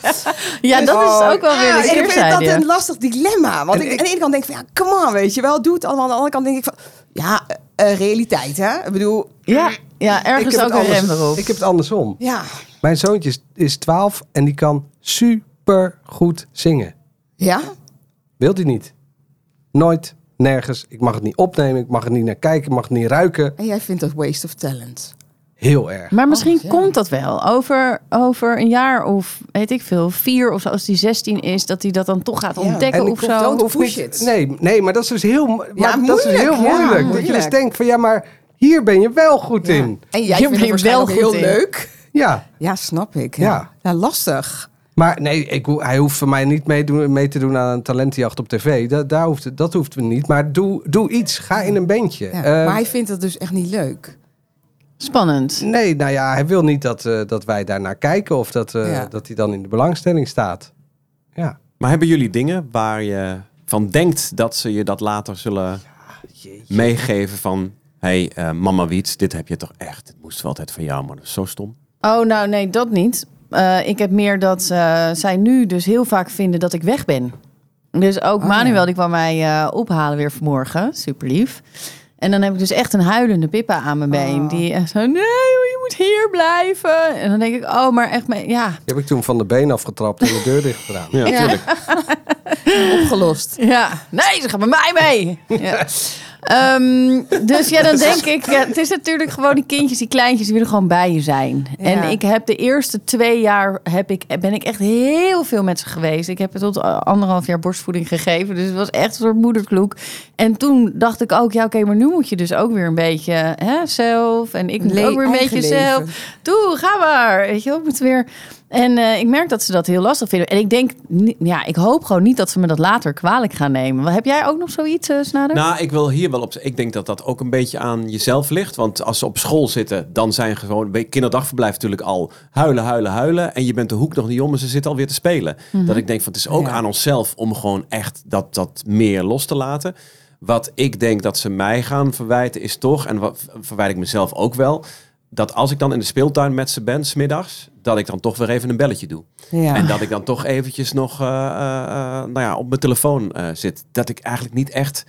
[SPEAKER 2] Ja, dat is ook wel weer
[SPEAKER 5] Ah,
[SPEAKER 2] de
[SPEAKER 5] en ik vind dat
[SPEAKER 2] keerzijde.
[SPEAKER 5] een lastig dilemma. Want ik, aan de ene kant denk ik van... Ja, come on, weet je wel. Doe het allemaal. Aan de andere kant denk ik van... Ja, eh, eh, realiteit, hè? Ik bedoel...
[SPEAKER 2] Ja, ja
[SPEAKER 3] Ik
[SPEAKER 2] ergens
[SPEAKER 3] heb
[SPEAKER 2] ook
[SPEAKER 3] het
[SPEAKER 2] een rem
[SPEAKER 3] anders-
[SPEAKER 2] erop.
[SPEAKER 3] Ik heb het andersom.
[SPEAKER 5] Ja.
[SPEAKER 3] Mijn zoontje is, is 12 en die kan super goed zingen.
[SPEAKER 5] Ja?
[SPEAKER 3] Wil hij niet. Nooit, nergens. Ik mag het niet opnemen, ik mag er niet naar kijken, ik mag het niet ruiken.
[SPEAKER 5] En jij vindt dat waste of talent.
[SPEAKER 3] Heel erg.
[SPEAKER 2] Maar misschien
[SPEAKER 5] Oh, ja.
[SPEAKER 2] komt dat wel over, over een jaar of weet ik veel, vier of zo, als die 16 is, dat hij dat dan toch gaat
[SPEAKER 5] Ja.
[SPEAKER 2] ontdekken
[SPEAKER 3] En ik
[SPEAKER 2] of
[SPEAKER 5] hoef
[SPEAKER 2] zo.
[SPEAKER 5] dan-
[SPEAKER 3] Hoeft
[SPEAKER 5] push
[SPEAKER 3] niet-
[SPEAKER 5] it.
[SPEAKER 3] Nee, nee, maar dat is dus heel, mo-
[SPEAKER 5] Ja,
[SPEAKER 3] maar dat is dus
[SPEAKER 5] moeilijk,
[SPEAKER 3] heel
[SPEAKER 5] ja,
[SPEAKER 3] moeilijk. Dat je dus
[SPEAKER 5] moeilijk.
[SPEAKER 3] denkt van ja, maar hier ben je wel goed in.
[SPEAKER 5] En jij
[SPEAKER 2] Je
[SPEAKER 5] vindt
[SPEAKER 2] bent
[SPEAKER 5] het waarschijnlijk
[SPEAKER 2] wel
[SPEAKER 5] heel
[SPEAKER 2] goed in.
[SPEAKER 5] leuk.
[SPEAKER 3] Ja,
[SPEAKER 5] Ja, snap ik.
[SPEAKER 3] Ja.
[SPEAKER 5] Ja, ja lastig.
[SPEAKER 3] maar nee, ik, ho- hij hoeft voor mij niet mee, doen- mee te doen aan een talentenjacht op tv. Dat, daar hoeft, het- dat hoeft we niet. Maar doe, doe iets. Ga in een bandje.
[SPEAKER 5] Ja,
[SPEAKER 3] Eh,
[SPEAKER 5] maar hij vindt dat dus echt niet leuk.
[SPEAKER 2] Spannend.
[SPEAKER 3] Nee, nou ja, hij wil niet dat, eh, dat wij daarnaar kijken of dat, eh,
[SPEAKER 5] Ja.
[SPEAKER 3] dat hij dan in de belangstelling staat. Ja.
[SPEAKER 1] Maar hebben jullie dingen waar je van denkt dat ze je dat later zullen meegeven van... hey, eh, mama Wiets, dit heb je toch echt. Dit moest wel altijd van jou, maar dat is zo stom.
[SPEAKER 2] Oh, nou nee, dat niet. Eh, ik heb meer dat eh, zij nu dus heel vaak vinden dat ik weg ben. Dus ook
[SPEAKER 5] Oh,
[SPEAKER 2] Manuel,
[SPEAKER 5] ja.
[SPEAKER 2] die kwam mij eh, ophalen weer vanmorgen. Super lief. En dan heb ik dus echt een huilende Pippa aan mijn been.
[SPEAKER 5] Oh.
[SPEAKER 2] Die echt zo, nee, je moet hier blijven. En dan denk ik, oh, maar echt, maar, ja.
[SPEAKER 3] Die heb ik toen van de been afgetrapt en de deur dicht gedaan.
[SPEAKER 1] Ja, natuurlijk.
[SPEAKER 5] Opgelost.
[SPEAKER 2] Ja, nee, ze gaan met mij mee. Ja. Ehm, dus ja, dan denk ik, ja, het is natuurlijk gewoon die kindjes, die kleintjes, die willen gewoon bij je zijn. En ik heb de eerste twee jaar heb ik, ben ik echt heel veel met ze geweest. Ik heb het tot eh, anderhalf jaar borstvoeding gegeven, dus het was echt een soort moederkloek. En toen dacht ik ook, ja oké, maar nu moet je dus ook weer een beetje hè, zelf. En ik moet
[SPEAKER 5] Le-
[SPEAKER 2] ook weer een
[SPEAKER 5] eigen
[SPEAKER 2] beetje
[SPEAKER 5] leven.
[SPEAKER 2] zelf. Doe, ga maar. Weet je, wel, ik moet weer. En eh, ik merk dat ze dat heel lastig vinden. En ik denk, ni- ja, ik hoop gewoon niet dat ze me dat later kwalijk gaan nemen. Wat- Heb jij ook nog zoiets, eh, Snader?
[SPEAKER 1] Nou, ik wil hier wel op. Ik denk dat dat ook een beetje aan jezelf ligt. Want als ze op school zitten, dan zijn gewoon bij kinderdagverblijf natuurlijk al huilen, huilen, huilen. En je bent de hoek nog niet om en ze zitten alweer te spelen. Dat ik denk van het is ook
[SPEAKER 5] Ja.
[SPEAKER 1] aan onszelf om gewoon echt dat, dat meer los te laten. Wat ik denk dat ze mij gaan verwijten is toch, en wat verwijt ik mezelf ook wel, dat als ik dan in de speeltuin met ze ben, smiddags, dat ik dan toch weer even een belletje doe.
[SPEAKER 5] Ja.
[SPEAKER 1] En dat ik dan toch eventjes nog eh, eh, eh, nou ja, op mijn telefoon eh, zit. Dat ik eigenlijk niet echt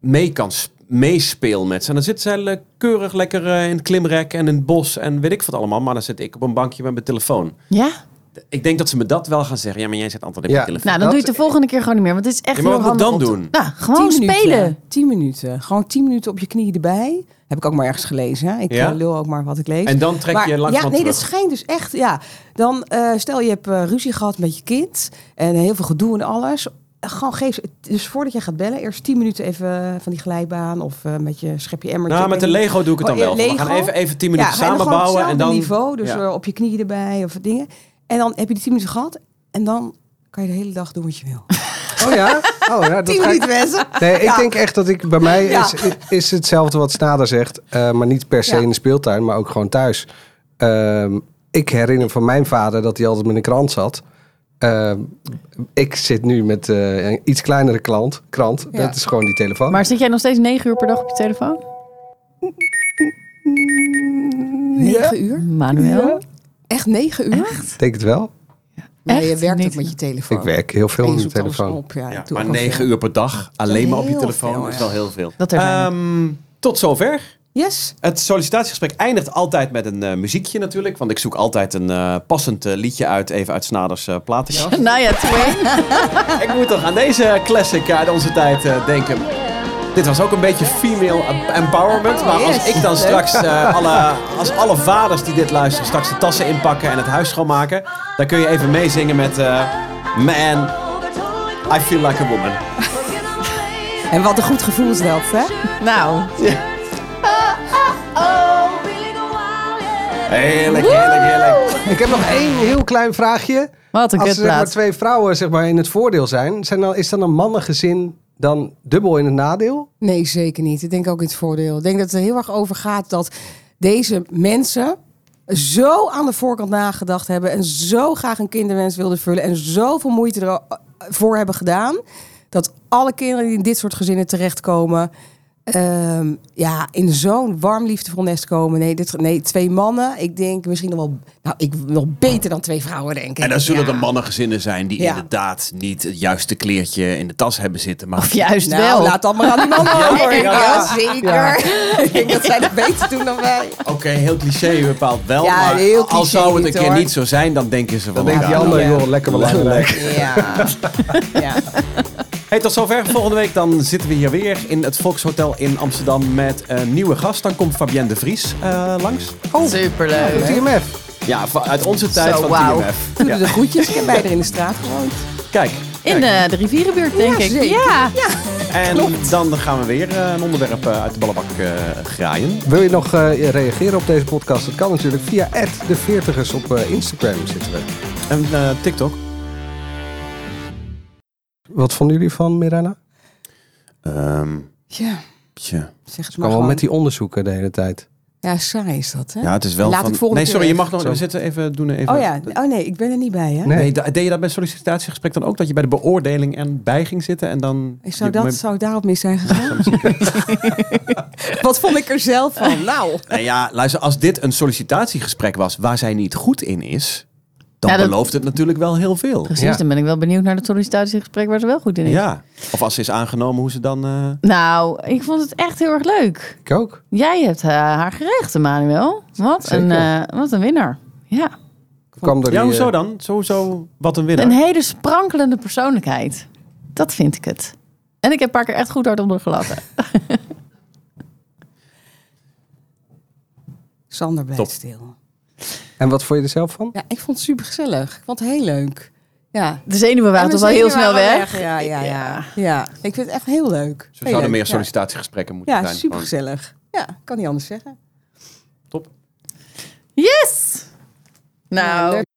[SPEAKER 1] mee kan, sp- meespeel met ze. En dan zit zij le- keurig lekker eh, in het klimrek en in het bos en weet ik wat allemaal. Maar dan zit ik op een bankje met mijn telefoon.
[SPEAKER 2] Ja?
[SPEAKER 1] Ik denk dat ze me dat wel gaan zeggen. Ja, maar jij zit altijd op
[SPEAKER 3] Ja.
[SPEAKER 1] je telefoon.
[SPEAKER 2] Nou, dan
[SPEAKER 3] Dat-
[SPEAKER 2] doe je het de volgende keer gewoon niet meer. Want het is echt
[SPEAKER 1] Ja, maar
[SPEAKER 2] heel
[SPEAKER 1] wat moet ik
[SPEAKER 2] handig.
[SPEAKER 1] dan
[SPEAKER 2] om
[SPEAKER 1] doen?
[SPEAKER 2] te- Nou, gewoon spelen.
[SPEAKER 5] Minuten, 10 minuten. Gewoon 10 minuten op je knieën erbij. Heb ik ook maar ergens gelezen. Hè? Ik
[SPEAKER 1] Ja?
[SPEAKER 5] eh, lul ook maar wat ik lees.
[SPEAKER 1] en dan trek je
[SPEAKER 5] Maar-
[SPEAKER 1] langzaam
[SPEAKER 5] ja, nee,
[SPEAKER 1] terug.
[SPEAKER 5] dat schijnt dus echt. Ja, dan eh, stel je hebt eh, ruzie gehad met je kind en heel veel gedoe en alles. Eh, Gewoon geef ze- dus voordat je gaat bellen, eerst 10 minuten even eh, van die glijbaan of eh, met je schepje emmertje.
[SPEAKER 1] nou, met de
[SPEAKER 5] Ik weet
[SPEAKER 1] Lego doe ik het dan
[SPEAKER 5] Oh,
[SPEAKER 1] wel. We
[SPEAKER 5] Lego?
[SPEAKER 1] gaan even, even tien
[SPEAKER 5] niet.
[SPEAKER 1] minuten
[SPEAKER 5] ga je gewoon op
[SPEAKER 1] samenbouwen. En
[SPEAKER 5] hetzelfde
[SPEAKER 1] dan
[SPEAKER 5] niveau, dus
[SPEAKER 1] Ja.
[SPEAKER 5] eh, op je knieën erbij of dingen. En dan heb je die 10 minuten gehad en dan kan je de hele dag doen wat je wil.
[SPEAKER 3] Oh ja? Oh ja, dat
[SPEAKER 5] 10
[SPEAKER 3] ga ik-
[SPEAKER 5] minuten mensen.
[SPEAKER 3] Nee, ik
[SPEAKER 5] Ja.
[SPEAKER 3] denk echt dat ik bij mij
[SPEAKER 5] Ja.
[SPEAKER 3] is, is hetzelfde wat Snader zegt, eh, maar niet per se
[SPEAKER 5] Ja.
[SPEAKER 3] in de speeltuin, maar ook gewoon thuis. Ehm, ik herinner van mijn vader dat hij altijd met een krant zat. Ehm, ik zit nu met eh, een iets kleinere klant, krant.
[SPEAKER 5] Ja.
[SPEAKER 3] Dat is gewoon die telefoon.
[SPEAKER 2] Maar zit jij nog steeds 9 uur per dag op je telefoon?
[SPEAKER 5] 9 uur?
[SPEAKER 2] Manuel?
[SPEAKER 5] Echt 9 uur?
[SPEAKER 3] Ik denk het wel.
[SPEAKER 5] Nee, je
[SPEAKER 2] Echt?
[SPEAKER 5] werkt ook
[SPEAKER 2] Niet.
[SPEAKER 5] met je telefoon.
[SPEAKER 3] Ik werk heel veel
[SPEAKER 5] En je
[SPEAKER 3] met de
[SPEAKER 5] zoekt alles
[SPEAKER 3] telefoon.
[SPEAKER 5] op, ja, ik
[SPEAKER 1] Ja,
[SPEAKER 5] doe
[SPEAKER 1] maar
[SPEAKER 5] ook wel
[SPEAKER 1] negen
[SPEAKER 5] veel.
[SPEAKER 1] uur per dag alleen maar op je
[SPEAKER 5] heel
[SPEAKER 1] telefoon
[SPEAKER 5] veel,
[SPEAKER 1] is
[SPEAKER 5] ja.
[SPEAKER 1] wel heel veel.
[SPEAKER 2] Dat er zijn
[SPEAKER 1] Ehm, tot zover.
[SPEAKER 5] Yes.
[SPEAKER 1] Het sollicitatiegesprek eindigt altijd met een eh, muziekje natuurlijk. Want ik zoek altijd een eh, passend eh, liedje uit, even uit Snaders eh platenkast.
[SPEAKER 2] Nou ja, Twain.
[SPEAKER 1] ik moet toch aan deze classic uit onze tijd eh, denken. Dit was ook een beetje female empowerment. Maar als
[SPEAKER 5] yes.
[SPEAKER 1] ik dan straks eh, alle, als alle vaders die dit luisteren straks de tassen inpakken en het huis schoonmaken. Dan kun je even meezingen met eh, Man, I Feel Like a Woman.
[SPEAKER 5] En wat een goed gevoel is dat, hè?
[SPEAKER 2] Nou,
[SPEAKER 1] Heerlijk, heerlijk, heerlijk.
[SPEAKER 3] Ik heb nog één heel klein vraagje.
[SPEAKER 2] wat een
[SPEAKER 3] Als er zeg maar,
[SPEAKER 2] kutplaat.
[SPEAKER 3] twee vrouwen zeg maar, in het voordeel zijn, zijn dan, is dan een mannengezin dan dubbel in het nadeel?
[SPEAKER 5] Nee, zeker niet. Ik denk ook in het voordeel. Ik denk dat het er heel erg over gaat dat deze mensen zo aan de voorkant nagedacht hebben en zo graag een kinderwens wilden vullen en zoveel moeite ervoor hebben gedaan, dat alle kinderen die in dit soort gezinnen terechtkomen, ehm, ja, in zo'n warm liefdevol nest komen. Nee, dit, nee, twee mannen. Ik denk misschien nog wel, nou, ik nog beter dan twee vrouwen, denk ik.
[SPEAKER 1] En dan zullen
[SPEAKER 5] Ja.
[SPEAKER 1] er mannengezinnen zijn die
[SPEAKER 5] Ja.
[SPEAKER 1] inderdaad niet het juiste kleertje in de tas hebben zitten. Maar
[SPEAKER 2] Of juist
[SPEAKER 5] Nou,
[SPEAKER 2] wel.
[SPEAKER 5] laat dat maar aan die mannen over.
[SPEAKER 1] ja.
[SPEAKER 5] zeker. ik denk dat zij dat beter doen dan wij.
[SPEAKER 1] oké, heel cliché bepaald wel.
[SPEAKER 5] Ja,
[SPEAKER 1] maar
[SPEAKER 5] heel
[SPEAKER 1] al
[SPEAKER 5] cliché
[SPEAKER 1] zou het een
[SPEAKER 5] niet,
[SPEAKER 1] keer
[SPEAKER 5] hoor.
[SPEAKER 1] niet zo zijn, dan denken ze van
[SPEAKER 3] Dan denkt die
[SPEAKER 1] elkaar.
[SPEAKER 3] ander,
[SPEAKER 5] Ja.
[SPEAKER 3] joh, lekker belangrijk.
[SPEAKER 5] Ja. ja.
[SPEAKER 1] Hey, tot zover. Volgende week dan zitten we hier weer in het Volkshotel in Amsterdam met een nieuwe gast. Dan komt Fabienne de Vries eh, langs.
[SPEAKER 2] Superleuk.
[SPEAKER 3] TMF.
[SPEAKER 1] Ja, va- uit onze tijd
[SPEAKER 2] Zo,
[SPEAKER 1] van
[SPEAKER 2] wauw.
[SPEAKER 1] TMF.
[SPEAKER 5] Doe de groetjes. Ik heb bij er in de straat gewoond.
[SPEAKER 1] Kijk.
[SPEAKER 2] In eh, de, de rivierenbuurt, denk
[SPEAKER 5] Ja,
[SPEAKER 2] ik.
[SPEAKER 5] zeker.
[SPEAKER 2] Ja.
[SPEAKER 1] En dan gaan we weer eh, een onderwerp eh, uit de ballenbak eh, graaien.
[SPEAKER 3] Wil je nog eh, reageren op deze podcast? Dat kan natuurlijk via de 40ers op eh, Instagram zitten we.
[SPEAKER 1] En eh, TikTok.
[SPEAKER 3] Wat vonden jullie van Mirana?
[SPEAKER 1] Ehm
[SPEAKER 5] Ja,
[SPEAKER 1] tja.
[SPEAKER 5] zeg het maar
[SPEAKER 3] Gewoon
[SPEAKER 5] gewoon.
[SPEAKER 3] met die onderzoeken de hele tijd.
[SPEAKER 5] Ja, saai is dat, hè?
[SPEAKER 1] Ja, het is wel
[SPEAKER 5] Laat
[SPEAKER 1] van...
[SPEAKER 5] ik volgende
[SPEAKER 1] nee, sorry,
[SPEAKER 5] keer
[SPEAKER 1] je mag nog...
[SPEAKER 3] Zo.
[SPEAKER 1] We zitten even... Doen even...
[SPEAKER 5] Oh ja, oh nee, ik ben er niet bij, hè?
[SPEAKER 3] Nee.
[SPEAKER 1] Nee, da- deed je dat bij sollicitatiegesprek dan ook? Dat je bij de beoordeling en bij ging zitten en dan...
[SPEAKER 5] Ik Zou,
[SPEAKER 1] je-
[SPEAKER 5] dat, zou ik daarop mis zijn gegaan? Wat vond ik er zelf van? Nou,
[SPEAKER 1] Nou ja, luister, als dit een sollicitatiegesprek was waar zij niet goed in is, dan
[SPEAKER 2] Ja, dat-
[SPEAKER 1] belooft het natuurlijk wel heel veel.
[SPEAKER 2] Precies,
[SPEAKER 3] Ja.
[SPEAKER 2] dan ben ik wel benieuwd naar het sollicitatiegesprek waar ze wel goed in is.
[SPEAKER 1] Ja. Of als ze is aangenomen, hoe ze dan... eh,
[SPEAKER 2] Nou, ik vond het echt heel erg leuk.
[SPEAKER 3] Ik ook.
[SPEAKER 2] Jij hebt eh, haar gerecht, Manuel. Wat een, eh,
[SPEAKER 3] Zeker.
[SPEAKER 2] wat een winnaar. Ja.
[SPEAKER 3] Kwam door
[SPEAKER 1] Ja,
[SPEAKER 3] die,
[SPEAKER 1] hoezo
[SPEAKER 3] eh,
[SPEAKER 1] dan? Sowieso wat een winnaar.
[SPEAKER 2] Een hele sprankelende persoonlijkheid. Dat vind ik het. En ik heb een paar keer echt goed hard onder gelachen.
[SPEAKER 5] Sander blijft
[SPEAKER 1] Top.
[SPEAKER 5] stil.
[SPEAKER 3] En wat vond je er zelf van?
[SPEAKER 5] Ja, ik vond het super gezellig. Ik vond het heel leuk. Ja.
[SPEAKER 2] De zenuwen waren
[SPEAKER 5] En
[SPEAKER 2] toch wel
[SPEAKER 5] mijn
[SPEAKER 2] heel
[SPEAKER 5] zenuwen
[SPEAKER 2] snel
[SPEAKER 5] waren
[SPEAKER 2] weg.
[SPEAKER 5] Ja, ja, ja, ja. Ik vind het echt heel leuk.
[SPEAKER 1] Zo zouden meer
[SPEAKER 5] sollicitaties.
[SPEAKER 1] sollicitatiegesprekken moeten
[SPEAKER 5] Ja,
[SPEAKER 1] zijn.
[SPEAKER 5] super gezellig. Ja, kan niet anders zeggen.
[SPEAKER 1] Top.
[SPEAKER 2] Yes! Nou,
[SPEAKER 5] Ja, leuk.